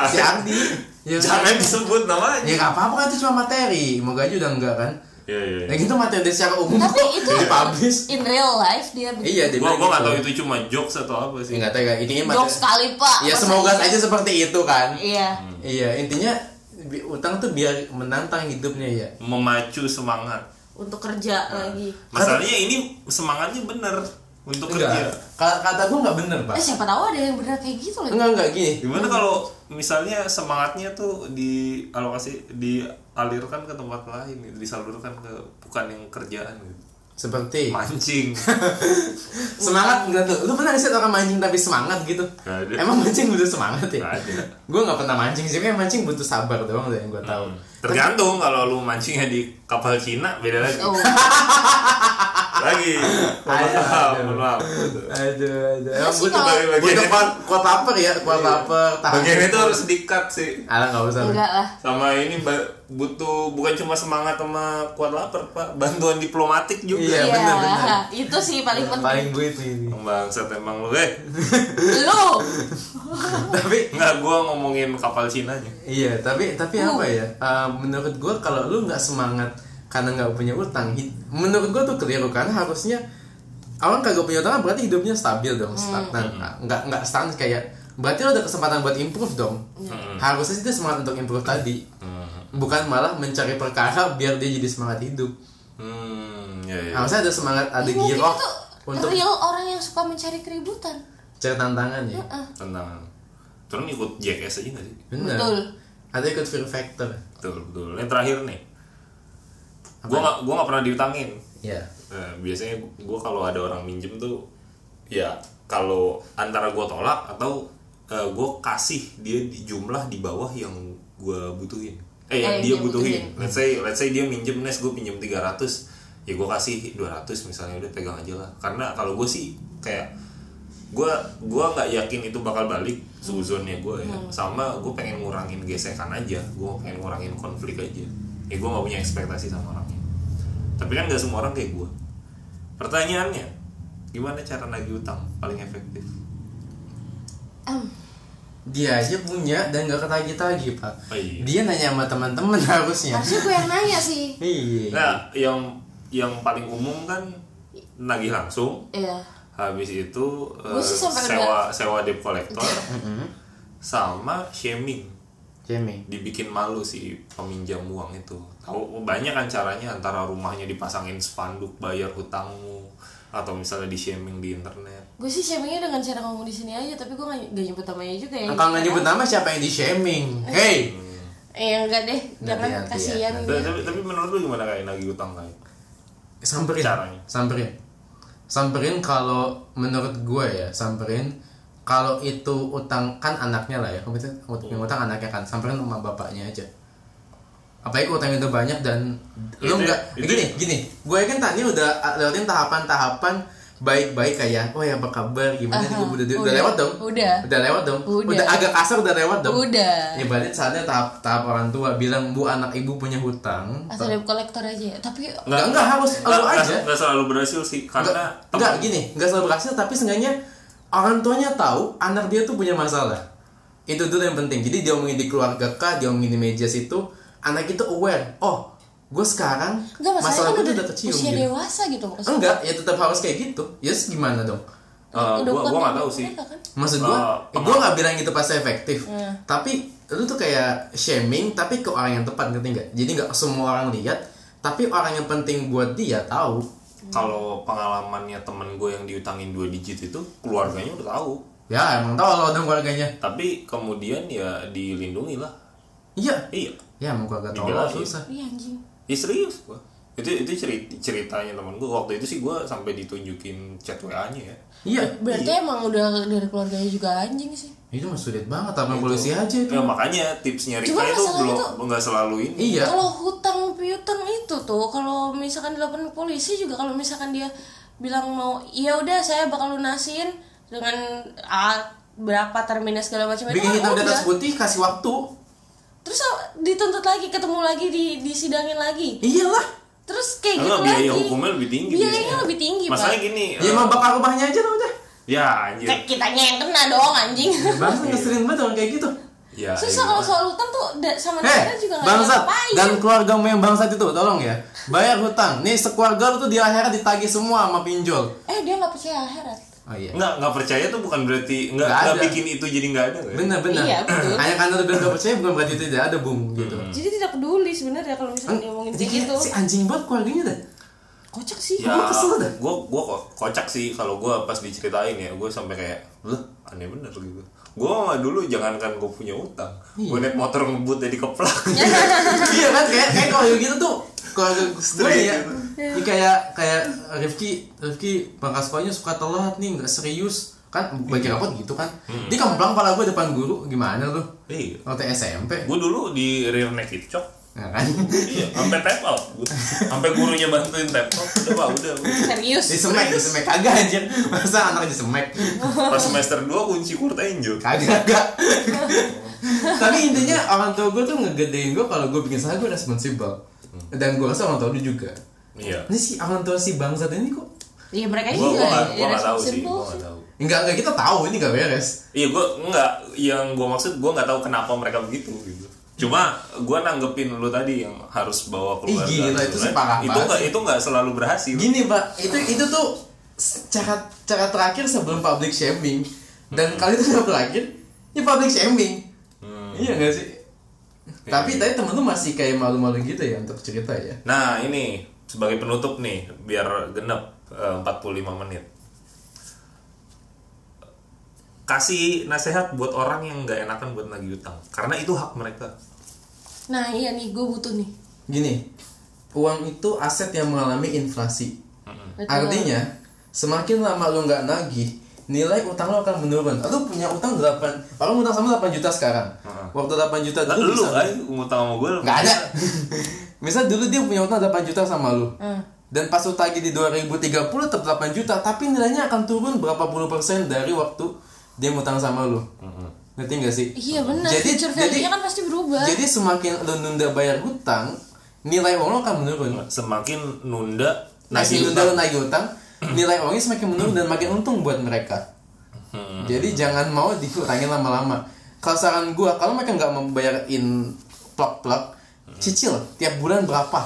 [SPEAKER 2] si Ardi, ya, kan?
[SPEAKER 1] Jangan disebut
[SPEAKER 2] ya
[SPEAKER 1] namanya
[SPEAKER 2] nggak apa-apa kan itu cuma materi, mau gaji udah enggak kan?
[SPEAKER 1] Iya iya
[SPEAKER 2] Nah gitu materi dia secara umum
[SPEAKER 3] tapi
[SPEAKER 2] kok
[SPEAKER 3] itu
[SPEAKER 2] jadi publish.
[SPEAKER 3] in real life dia begitu
[SPEAKER 2] Iya, dia
[SPEAKER 1] Gue
[SPEAKER 2] bilang
[SPEAKER 1] gue nggak
[SPEAKER 2] gitu.
[SPEAKER 1] tahu itu cuma jokes atau apa
[SPEAKER 2] Ya,
[SPEAKER 1] sih
[SPEAKER 2] nggak tahu nggak, ini
[SPEAKER 3] jokes
[SPEAKER 2] materi.
[SPEAKER 3] sekali pak
[SPEAKER 2] Ya
[SPEAKER 3] Masa
[SPEAKER 2] semoga
[SPEAKER 3] iya?
[SPEAKER 2] aja seperti itu kan.
[SPEAKER 3] iya
[SPEAKER 2] Iya intinya bi- utang tuh biar menantang hidupnya ya.
[SPEAKER 1] Memacu semangat
[SPEAKER 2] Hmm.
[SPEAKER 3] untuk
[SPEAKER 2] Iya.
[SPEAKER 3] kerja lagi
[SPEAKER 1] Masalahnya ini semangatnya bener Untuk kerja
[SPEAKER 2] Enggak, Ka- kata gue nggak bener
[SPEAKER 3] eh
[SPEAKER 2] pak.
[SPEAKER 3] siapa tahu ada yang bener kayak gitu lagi
[SPEAKER 2] Enggak enggak gini.
[SPEAKER 1] Gimana kalau misalnya semangatnya tuh dialokasi dialirkan ke tempat lain gitu, disalurkan ke bukan yang kerjaan gitu.
[SPEAKER 2] Seperti
[SPEAKER 1] Mancing. [laughs]
[SPEAKER 2] semangat enggak tuh lu pernah nggak sih orang mancing tapi semangat gitu
[SPEAKER 1] Nggak ada.
[SPEAKER 2] emang mancing butuh semangat ya
[SPEAKER 1] Nggak ada.
[SPEAKER 2] gue nggak pernah mancing sih kayak mancing butuh sabar doang tuh yang gue tahu
[SPEAKER 1] Hmm. Tergantung kalau lu mancingnya di kapal Cina beda lagi.
[SPEAKER 3] oh
[SPEAKER 1] Lagi. Mohon
[SPEAKER 2] Ayo,
[SPEAKER 1] maaf,
[SPEAKER 2] ayo.
[SPEAKER 1] mohon maaf.
[SPEAKER 2] aduh aduh emang
[SPEAKER 3] sih
[SPEAKER 2] butuh
[SPEAKER 3] kalau-
[SPEAKER 1] Tapi
[SPEAKER 2] butuh
[SPEAKER 1] bagian
[SPEAKER 2] kuat kuat lapar ya kuat lapar tahan
[SPEAKER 1] bagian itu harus dikat sih.
[SPEAKER 2] alah nggak usah
[SPEAKER 3] Oh, enggak lah
[SPEAKER 1] Sama ini ba- butuh bukan cuma semangat sama kuat lapar, Pak. Bantuan diplomatik juga.
[SPEAKER 2] Iya, bener, bener.
[SPEAKER 3] [laughs]
[SPEAKER 2] Iya,
[SPEAKER 3] itu sih paling penting
[SPEAKER 2] paling gue itu ini
[SPEAKER 1] Bangsat emang lu, eh.
[SPEAKER 3] lu
[SPEAKER 2] tapi
[SPEAKER 1] Enggak gua ngomongin kapal Cinanya.
[SPEAKER 2] iya tapi tapi
[SPEAKER 3] Uh.
[SPEAKER 2] apa ya Eh, menurut gue kalau lu nggak semangat karena nggak punya utang hid- menurut gue tuh keliru karena harusnya orang kagak punya utang berarti hidupnya stabil
[SPEAKER 3] Hmm.
[SPEAKER 2] dong stagnan nggak nggak stagnan kayak berarti lo ada kesempatan buat improve dong harusnya sih dia semangat untuk improve tadi bukan malah mencari perkara biar dia jadi semangat hidup
[SPEAKER 1] Hmm, ya, ya.
[SPEAKER 2] harusnya ada semangat ada
[SPEAKER 3] Iya, Mungkin
[SPEAKER 2] giroh
[SPEAKER 3] itu
[SPEAKER 2] untuk
[SPEAKER 3] real orang yang suka mencari keributan
[SPEAKER 2] cari tantangan ya
[SPEAKER 1] tentang turun ikut JKS aja gak sih?
[SPEAKER 2] benar
[SPEAKER 3] Betul.
[SPEAKER 2] ada ikut fear factor
[SPEAKER 1] Betul, betul. Yang terakhir nih, gue gak, gua gak pernah diutangin.
[SPEAKER 2] ya
[SPEAKER 1] Nah, biasanya gue kalau ada orang minjem tuh, ya kalau antara gue tolak atau gue kasih dia di jumlah di bawah yang gue butuhin. Eh, yang
[SPEAKER 3] Eh,
[SPEAKER 1] dia
[SPEAKER 3] dia
[SPEAKER 1] butuhin. Let's say, let's say dia minjem nes, gue pinjem 300 ya gue kasih 200 misalnya udah pegang aja lah. Karena kalau gue sih kayak gue gua nggak yakin itu bakal balik suzonnya gue ya sama gue pengen ngurangin gesekan aja gue pengen ngurangin konflik aja ya gue nggak punya ekspektasi sama orangnya tapi kan nggak semua orang kayak gue pertanyaannya gimana cara nagih utang paling efektif
[SPEAKER 3] Em,
[SPEAKER 2] dia aja punya dan gak ketagi-tagi pak
[SPEAKER 1] Oh, iya.
[SPEAKER 2] dia nanya sama teman-teman [laughs] harusnya
[SPEAKER 3] harusnya gue yang nanya
[SPEAKER 2] [laughs]
[SPEAKER 3] sih
[SPEAKER 2] iya
[SPEAKER 1] nah yang yang paling umum kan nagih langsung
[SPEAKER 3] Iya
[SPEAKER 1] habis itu eh,
[SPEAKER 3] Gua sih sampai Mm-hmm.
[SPEAKER 1] sewa sewa debt
[SPEAKER 3] [laughs]
[SPEAKER 1] collector sama shaming
[SPEAKER 2] Jamie
[SPEAKER 1] dibikin malu si peminjam uang itu tahu banyak kan caranya antara rumahnya dipasangin spanduk bayar hutangmu atau misalnya di shaming di internet
[SPEAKER 3] gue sih shamingnya dengan cara ngomong di sini aja tapi gue gak, gak nyebut namanya juga ya
[SPEAKER 2] kalau nggak nyebut nama siapa yang di shaming hey
[SPEAKER 3] eh enggak deh jangan
[SPEAKER 2] nanti ya,
[SPEAKER 3] kasihan
[SPEAKER 1] tapi, tapi, tapi menurut lu gimana kayak nagih utang kayak
[SPEAKER 2] samperin
[SPEAKER 1] Caranya.
[SPEAKER 2] samperin samperin kalau menurut gue ya samperin kalau itu utang kan anaknya lah ya kalau itu utang, utang anaknya kan samperin sama bapaknya aja apalagi utang itu banyak dan lu
[SPEAKER 1] Itu-
[SPEAKER 2] nggak
[SPEAKER 1] itu-
[SPEAKER 2] gini gini gue kan tadi udah lewatin tahapan-tahapan baik-baik kayak oh ya apa kabar gimana nih
[SPEAKER 3] Aha,
[SPEAKER 2] udah, udah,
[SPEAKER 3] udah.
[SPEAKER 2] lewat dong
[SPEAKER 3] Udah.
[SPEAKER 2] udah lewat dong
[SPEAKER 3] Udah.
[SPEAKER 2] agak kasar udah lewat dong
[SPEAKER 3] Udah.
[SPEAKER 2] ya balik saatnya tahap tahap orang tua bilang bu anak ibu punya hutang
[SPEAKER 3] Asal debt kolektor aja ya. Tapi
[SPEAKER 2] Enggak, enggak harus
[SPEAKER 1] Nggak-
[SPEAKER 2] lu Oh, aja. gitu.
[SPEAKER 1] nggak- nggak selalu berhasil sih karena eh,
[SPEAKER 2] Enggak,
[SPEAKER 1] tem-
[SPEAKER 2] enggak gini, enggak selalu berhasil tapi seenggaknya orang tuanya tahu anak dia tuh punya masalah. Itu dulu yang penting. Jadi dia omongin di keluarga kah, dia omongin di meja situ, anak itu aware. Oh, gue sekarang
[SPEAKER 3] enggak masalah
[SPEAKER 2] gue tuh
[SPEAKER 3] kan udah
[SPEAKER 2] udah kecium
[SPEAKER 3] usia
[SPEAKER 2] gitu.
[SPEAKER 3] dewasa gitu maksudnya.
[SPEAKER 2] Enggak, ya tetap harus kayak gitu. Ya yes, gimana dong?
[SPEAKER 1] Eh,
[SPEAKER 3] Udah
[SPEAKER 1] gua
[SPEAKER 3] bukan
[SPEAKER 1] gua nggak
[SPEAKER 3] umur
[SPEAKER 1] tahu sih
[SPEAKER 3] mereka kan.
[SPEAKER 2] Maksud gue,
[SPEAKER 1] Eh,
[SPEAKER 2] gue nggak bilang itu pasti efektif.
[SPEAKER 3] Hmm.
[SPEAKER 2] Tapi lu tuh kayak shaming tapi ke orang yang tepat ngerti nggak? Jadi nggak semua orang lihat, tapi orang yang penting buat dia tahu.
[SPEAKER 1] kalau pengalamannya temen gue yang diutangin dua digit itu keluarganya udah tahu
[SPEAKER 2] Ya emang tahu loh dong keluarganya.
[SPEAKER 1] tapi kemudian ya dilindungi lah
[SPEAKER 2] Iya,
[SPEAKER 1] iya
[SPEAKER 2] Ya mau kagak tahu
[SPEAKER 1] Dibelain.
[SPEAKER 2] susah.
[SPEAKER 3] Iya anjing.
[SPEAKER 1] ya serius gue itu itu cerita ceritanya temen gue waktu itu sih gue sampai ditunjukin chat wa nya ya
[SPEAKER 2] Iya,
[SPEAKER 3] Berarti emang udah dari keluarganya juga anjing sih.
[SPEAKER 2] itu mah sulit banget apa polisi aja itu.
[SPEAKER 1] Ya, makanya tipsnya Rika
[SPEAKER 3] Gitu. Cuma
[SPEAKER 1] itu
[SPEAKER 3] masalahnya
[SPEAKER 1] belum
[SPEAKER 3] tuh-
[SPEAKER 1] nggak selalu ini
[SPEAKER 2] Iya.
[SPEAKER 3] Kalau hutang piutang itu tuh, kalau misalkan dilaporin ke polisi juga kalau misalkan dia bilang mau, ya udah saya bakal lunasin dengan ah, berapa terminnya segala macam itu.
[SPEAKER 2] Bikin
[SPEAKER 3] kan
[SPEAKER 2] hitam di
[SPEAKER 3] udah.
[SPEAKER 2] atas putih kasih waktu.
[SPEAKER 3] Terus ah, dituntut lagi, ketemu lagi di disidangin lagi.
[SPEAKER 2] Iyalah.
[SPEAKER 3] Terus kayak
[SPEAKER 1] Enggak,
[SPEAKER 3] gitu
[SPEAKER 1] biaya
[SPEAKER 3] lagi.
[SPEAKER 1] hukumnya lebih tinggi
[SPEAKER 3] Biayanya
[SPEAKER 1] biasanya.
[SPEAKER 3] lebih tinggi,
[SPEAKER 1] masalahnya
[SPEAKER 3] Pak.
[SPEAKER 1] gini
[SPEAKER 2] Ya
[SPEAKER 1] eh,
[SPEAKER 2] emang bakal rumahnya aja lah udah.
[SPEAKER 1] ya anjir
[SPEAKER 3] Kayak kitanya yang kena dong anjing.
[SPEAKER 2] Bangsa ngeselin banget orang kayak gitu.
[SPEAKER 1] ya
[SPEAKER 3] [laughs] Susah
[SPEAKER 1] iya.
[SPEAKER 3] kalau soal hutang tuh da- sama
[SPEAKER 2] Eh,
[SPEAKER 3] negara juga nggak
[SPEAKER 2] bangsat
[SPEAKER 3] ngapain.
[SPEAKER 2] dan keluarga yang bangsat itu tolong ya. Bayar hutang. Nih sekeluarga lu tuh di akhirat ditagih semua sama pinjol.
[SPEAKER 3] Eh dia nggak percaya akhirat.
[SPEAKER 2] Oh iya.
[SPEAKER 1] nggak nggak percaya tuh bukan berarti nggak
[SPEAKER 2] Nggak
[SPEAKER 1] nggak
[SPEAKER 2] ada.
[SPEAKER 1] bikin itu jadi nggak ada nggak ya?
[SPEAKER 2] Benar benar.
[SPEAKER 3] Iya, betul.
[SPEAKER 2] Hanya karena lu bilang gak percaya bukan berarti tidak ada bung gitu.
[SPEAKER 3] Jadi tidak peduli sebenarnya kalau
[SPEAKER 2] Hmm.
[SPEAKER 3] misalkan dia ngomongin kayak
[SPEAKER 2] Jadi
[SPEAKER 3] gitu.
[SPEAKER 2] si anjing banget keluarganya dah.
[SPEAKER 3] Kocak sih.
[SPEAKER 1] ya
[SPEAKER 2] Gua kesel dah.
[SPEAKER 1] gue gue kok kocak sih kalau gue pas diceritain ya gue sampai kayak lah aneh bener gitu gue dulu jangankan gue punya utang gue naik motor ngebut jadi keplak
[SPEAKER 2] iya kan kayak kayak kalau gitu tuh kalau gue
[SPEAKER 1] Straight
[SPEAKER 2] ya ini kayak kayak Rifki Rifki pangkas sekolahnya suka telat nih nggak serius kan bagi rapot gitu kan dia kemplang pala gue depan guru gimana lu
[SPEAKER 1] [laughs] iya
[SPEAKER 2] waktu SMP
[SPEAKER 1] gue dulu di rear naked cok
[SPEAKER 2] nah, kan
[SPEAKER 1] iya sampai tap out Gua- sampai gurunya bantuin tap out udah pak udah
[SPEAKER 3] Serius.
[SPEAKER 2] disemek disemek kagak anjir masa anak disemek
[SPEAKER 1] pas semester 2 kunci Kurt Angel
[SPEAKER 2] kagak kagak tapi intinya orang tua gue tuh ngegedein gue kalau gue bikin salah gue responsible dan gue rasa orang tua lu juga
[SPEAKER 1] iya
[SPEAKER 2] ini si orang tua si bangsat ini kok
[SPEAKER 3] Iya mereka
[SPEAKER 1] gue
[SPEAKER 3] juga.
[SPEAKER 1] gue nggak gue nggak tahu sih
[SPEAKER 3] irresponsible
[SPEAKER 1] gue nggak tahu
[SPEAKER 2] enggak enggak kita tahu ini gak beres
[SPEAKER 1] Iya gue nggak yang gue maksud gue nggak tahu kenapa mereka begitu gitu. Cuma gue nanggepin lu tadi yang harus bawa keluarga.
[SPEAKER 2] Ih, gila, itu sih parah
[SPEAKER 1] Itu
[SPEAKER 2] banget
[SPEAKER 1] nggak itu nggak selalu berhasil.
[SPEAKER 2] Gini pak, itu itu tuh cara cara terakhir sebelum public shaming
[SPEAKER 1] Hmm.
[SPEAKER 2] dan kali itu cara terakhir ya public shaming. Iya gak sih? Tapi tadi temen lu masih kayak malu-malu gitu ya untuk cerita ya.
[SPEAKER 1] Nah ini sebagai penutup nih biar genep eh, 45 menit. Kasih nasihat buat orang yang nggak enakan buat nagih utang karena itu hak mereka.
[SPEAKER 3] Nah iya nih gue butuh nih.
[SPEAKER 2] Gini, uang itu aset yang mengalami inflasi.
[SPEAKER 1] Hmm.
[SPEAKER 3] Betul.
[SPEAKER 2] Artinya semakin lama lu nggak nagih nilai utang lo akan menurun. Lu punya utang 8, orang utang sama 8 juta sekarang. Waktu 8 juta
[SPEAKER 1] Hmm. Lah,
[SPEAKER 2] dulu
[SPEAKER 1] lu kan
[SPEAKER 2] bisa-
[SPEAKER 1] ayo ngutang sama gue.
[SPEAKER 2] Nggak ada. [laughs] Misal dulu dia punya utang 8 juta sama lu.
[SPEAKER 3] Hmm.
[SPEAKER 2] Dan pas lu tagih di 2030 tetap 8 juta, tapi nilainya akan turun berapa puluh persen dari waktu dia ngutang sama lu. Ngerti nggak sih?
[SPEAKER 3] Iya benar.
[SPEAKER 2] Jadi-
[SPEAKER 3] Future value-nya
[SPEAKER 2] jadi-
[SPEAKER 3] kan pasti berubah.
[SPEAKER 2] Jadi semakin lu nunda bayar hutang, nilai uang lu akan menurun.
[SPEAKER 1] Semakin nunda
[SPEAKER 2] Nasi
[SPEAKER 1] nagih
[SPEAKER 2] nunda
[SPEAKER 1] utang.
[SPEAKER 2] lu nagih utang, [clears throat] nilai uangnya semakin menurun dan makin untung buat mereka. Jadi jangan mau dikurangin lama-lama. Kalau saran gua, kalau mereka nggak membayarin plak-plak, cicil tiap bulan berapa?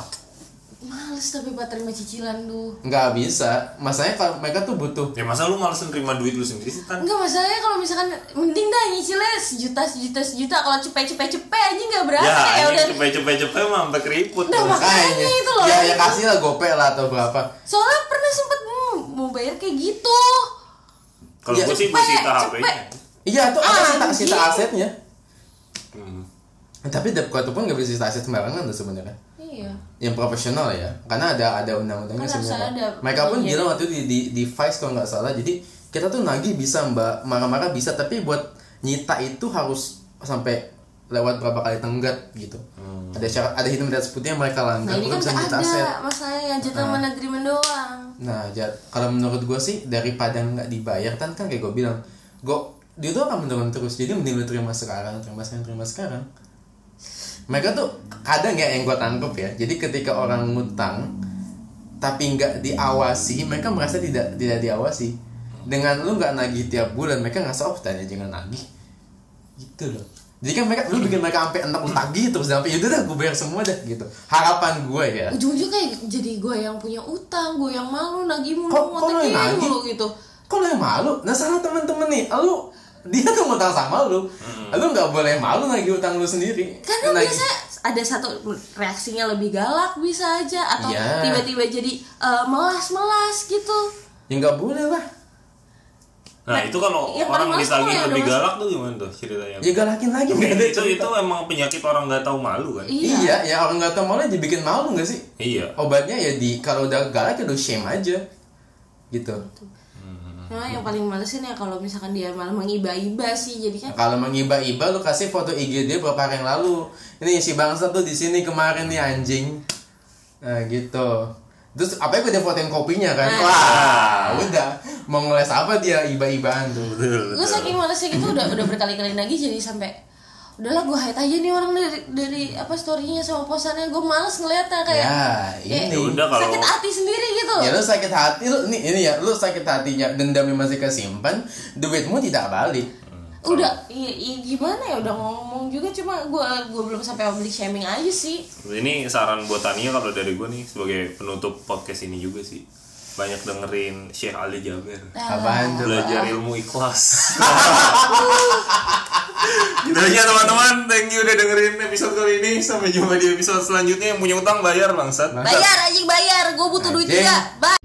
[SPEAKER 3] Males tapi buat terima cicilan tuh.
[SPEAKER 2] nggak bisa masanya kalau mereka tuh butuh
[SPEAKER 1] Ya masa lu males nerima duit lu sendiri sih Tan?
[SPEAKER 3] Enggak masalahnya kalau misalkan mending dah nyicilnya sejuta sejuta sejuta kalau cepet cepet cepet aja nggak berasa
[SPEAKER 1] Ya,
[SPEAKER 3] [laughs]
[SPEAKER 2] iya,
[SPEAKER 3] ya, udah.
[SPEAKER 1] ini cepet-cepet-cepet mah sampai keriput.
[SPEAKER 3] Nah,
[SPEAKER 1] tuh.
[SPEAKER 3] mak- Makanya itu loh.
[SPEAKER 2] ya ya kasih lah gope lah atau berapa
[SPEAKER 3] Soalnya pernah sempet hmm, mau bayar kayak gitu.
[SPEAKER 1] Kalau gue sih gue
[SPEAKER 3] ya cepet,
[SPEAKER 1] sita
[SPEAKER 3] cepet.
[SPEAKER 1] HP-nya.
[SPEAKER 2] iya tuh ada sita,
[SPEAKER 3] Anjing.
[SPEAKER 2] sita asetnya
[SPEAKER 1] Hmm.
[SPEAKER 2] tapi debt collector pun nggak bisa sita aset sembarangan tuh sebenarnya
[SPEAKER 3] Iya.
[SPEAKER 2] yang profesional ya karena ada ada undang-undangnya
[SPEAKER 3] Kan harus ada.
[SPEAKER 2] sebenarnya mereka pun
[SPEAKER 3] Iya.
[SPEAKER 2] bilang waktu itu di, di, di Vice kalau nggak salah jadi kita tuh nagih bisa mbak marah-marah bisa tapi buat nyita itu harus sampai lewat berapa kali tenggat gitu ada syarat ada hitam di atas putih yang mereka
[SPEAKER 3] nah
[SPEAKER 2] langgar baru
[SPEAKER 3] ini kan
[SPEAKER 2] bisa
[SPEAKER 3] nggak
[SPEAKER 2] nyita aset
[SPEAKER 3] ada masalahnya gentleman agreement doang
[SPEAKER 2] nah Jat, kalau menurut gue sih daripada nggak dibayar kan kan kayak gue bilang gue dia tuh akan menurun terus jadi mending lu terima sekarang terima sekarang terima sekarang mereka tuh kadang ya yang gue tangkep ya jadi ketika orang ngutang tapi nggak diawasi mereka merasa tidak tidak diawasi dengan lu nggak nagih tiap bulan mereka nggak oh tanya jangan nagih gitu loh jadi kan mereka lu bikin mereka sampai enak lu tagih terus sampai itu dah gue bayar semua dah gitu harapan gue ya
[SPEAKER 3] ujung-ujung kayak jadi gue yang punya utang gue yang malu nagih mulu
[SPEAKER 2] Kok- kok lo yang
[SPEAKER 3] ngotekin
[SPEAKER 2] nagih?
[SPEAKER 3] mulu gitu
[SPEAKER 2] kok lu yang malu nah salah temen-temen nih lu dia tuh ngutang sama lu lu nggak boleh malu nagih utang lu sendiri Nah,
[SPEAKER 3] karena
[SPEAKER 2] Nagih-
[SPEAKER 3] biasanya ada satu reaksinya lebih galak bisa aja atau
[SPEAKER 2] Iya.
[SPEAKER 3] tiba-tiba jadi eh, melas-melas gitu
[SPEAKER 2] ya nggak boleh lah
[SPEAKER 1] Nah, itu kalau
[SPEAKER 3] yang Iya.
[SPEAKER 1] orang
[SPEAKER 3] paling masalah
[SPEAKER 1] ditagih
[SPEAKER 3] ya,
[SPEAKER 1] lebih
[SPEAKER 3] udah
[SPEAKER 1] galak tuh gimana tuh ceritanya?
[SPEAKER 2] ya galakin lagi
[SPEAKER 1] Tapi
[SPEAKER 2] nggak ada
[SPEAKER 1] itu itu
[SPEAKER 2] cerita.
[SPEAKER 1] emang penyakit orang nggak tahu malu kan?
[SPEAKER 3] iya,
[SPEAKER 2] iya ya orang nggak tahu malu dibikin malu nggak sih
[SPEAKER 1] Iya.
[SPEAKER 2] obatnya ya di kalau udah galak ya udah shame aja gitu
[SPEAKER 3] Nah, yang paling malesin ya kalau misalkan dia malah mengiba-iba sih jadi kan
[SPEAKER 2] Nah, kalau mengiba-iba lu kasih foto IG dia beberapa hari yang lalu ini si bangsa tuh di sini kemarin nih anjing nah gitu terus apa gue fotoin kopinya kan wah udah mau ngeles apa dia iba-ibaan tuh
[SPEAKER 1] Betul.
[SPEAKER 3] gue saking malesnya gitu udah udah berkali-kali nagih jadi sampai udahlah gue hide aja nih orang dari dari apa storynya sama posannya gue males ngeliatnya kayak
[SPEAKER 2] ya
[SPEAKER 3] kayak
[SPEAKER 2] ini
[SPEAKER 1] Ya udah kalau
[SPEAKER 3] sakit hati sendiri gitu
[SPEAKER 2] ya lu sakit hati lu nih ini ya lu sakit hatinya dendamnya masih kesimpan duitmu tidak balik
[SPEAKER 3] udah i- i- gimana ya udah ngomong juga cuma gue gue belum sampai public shaming aja sih
[SPEAKER 1] Ini saran buat Tania kalau dari gue nih sebagai penutup podcast ini juga sih. Banyak dengerin Syekh Ali Jaber.
[SPEAKER 2] apaan tuh
[SPEAKER 1] Belajar ilmu
[SPEAKER 3] [laughs]
[SPEAKER 1] ikhlas. Gitu aja teman-teman, thank you udah dengerin episode kali ini. Sampai jumpa di episode selanjutnya yang punya utang bayar bangsat.
[SPEAKER 3] bayar anjing bayar gue butuh duit
[SPEAKER 2] Anjing.
[SPEAKER 3] juga Bye.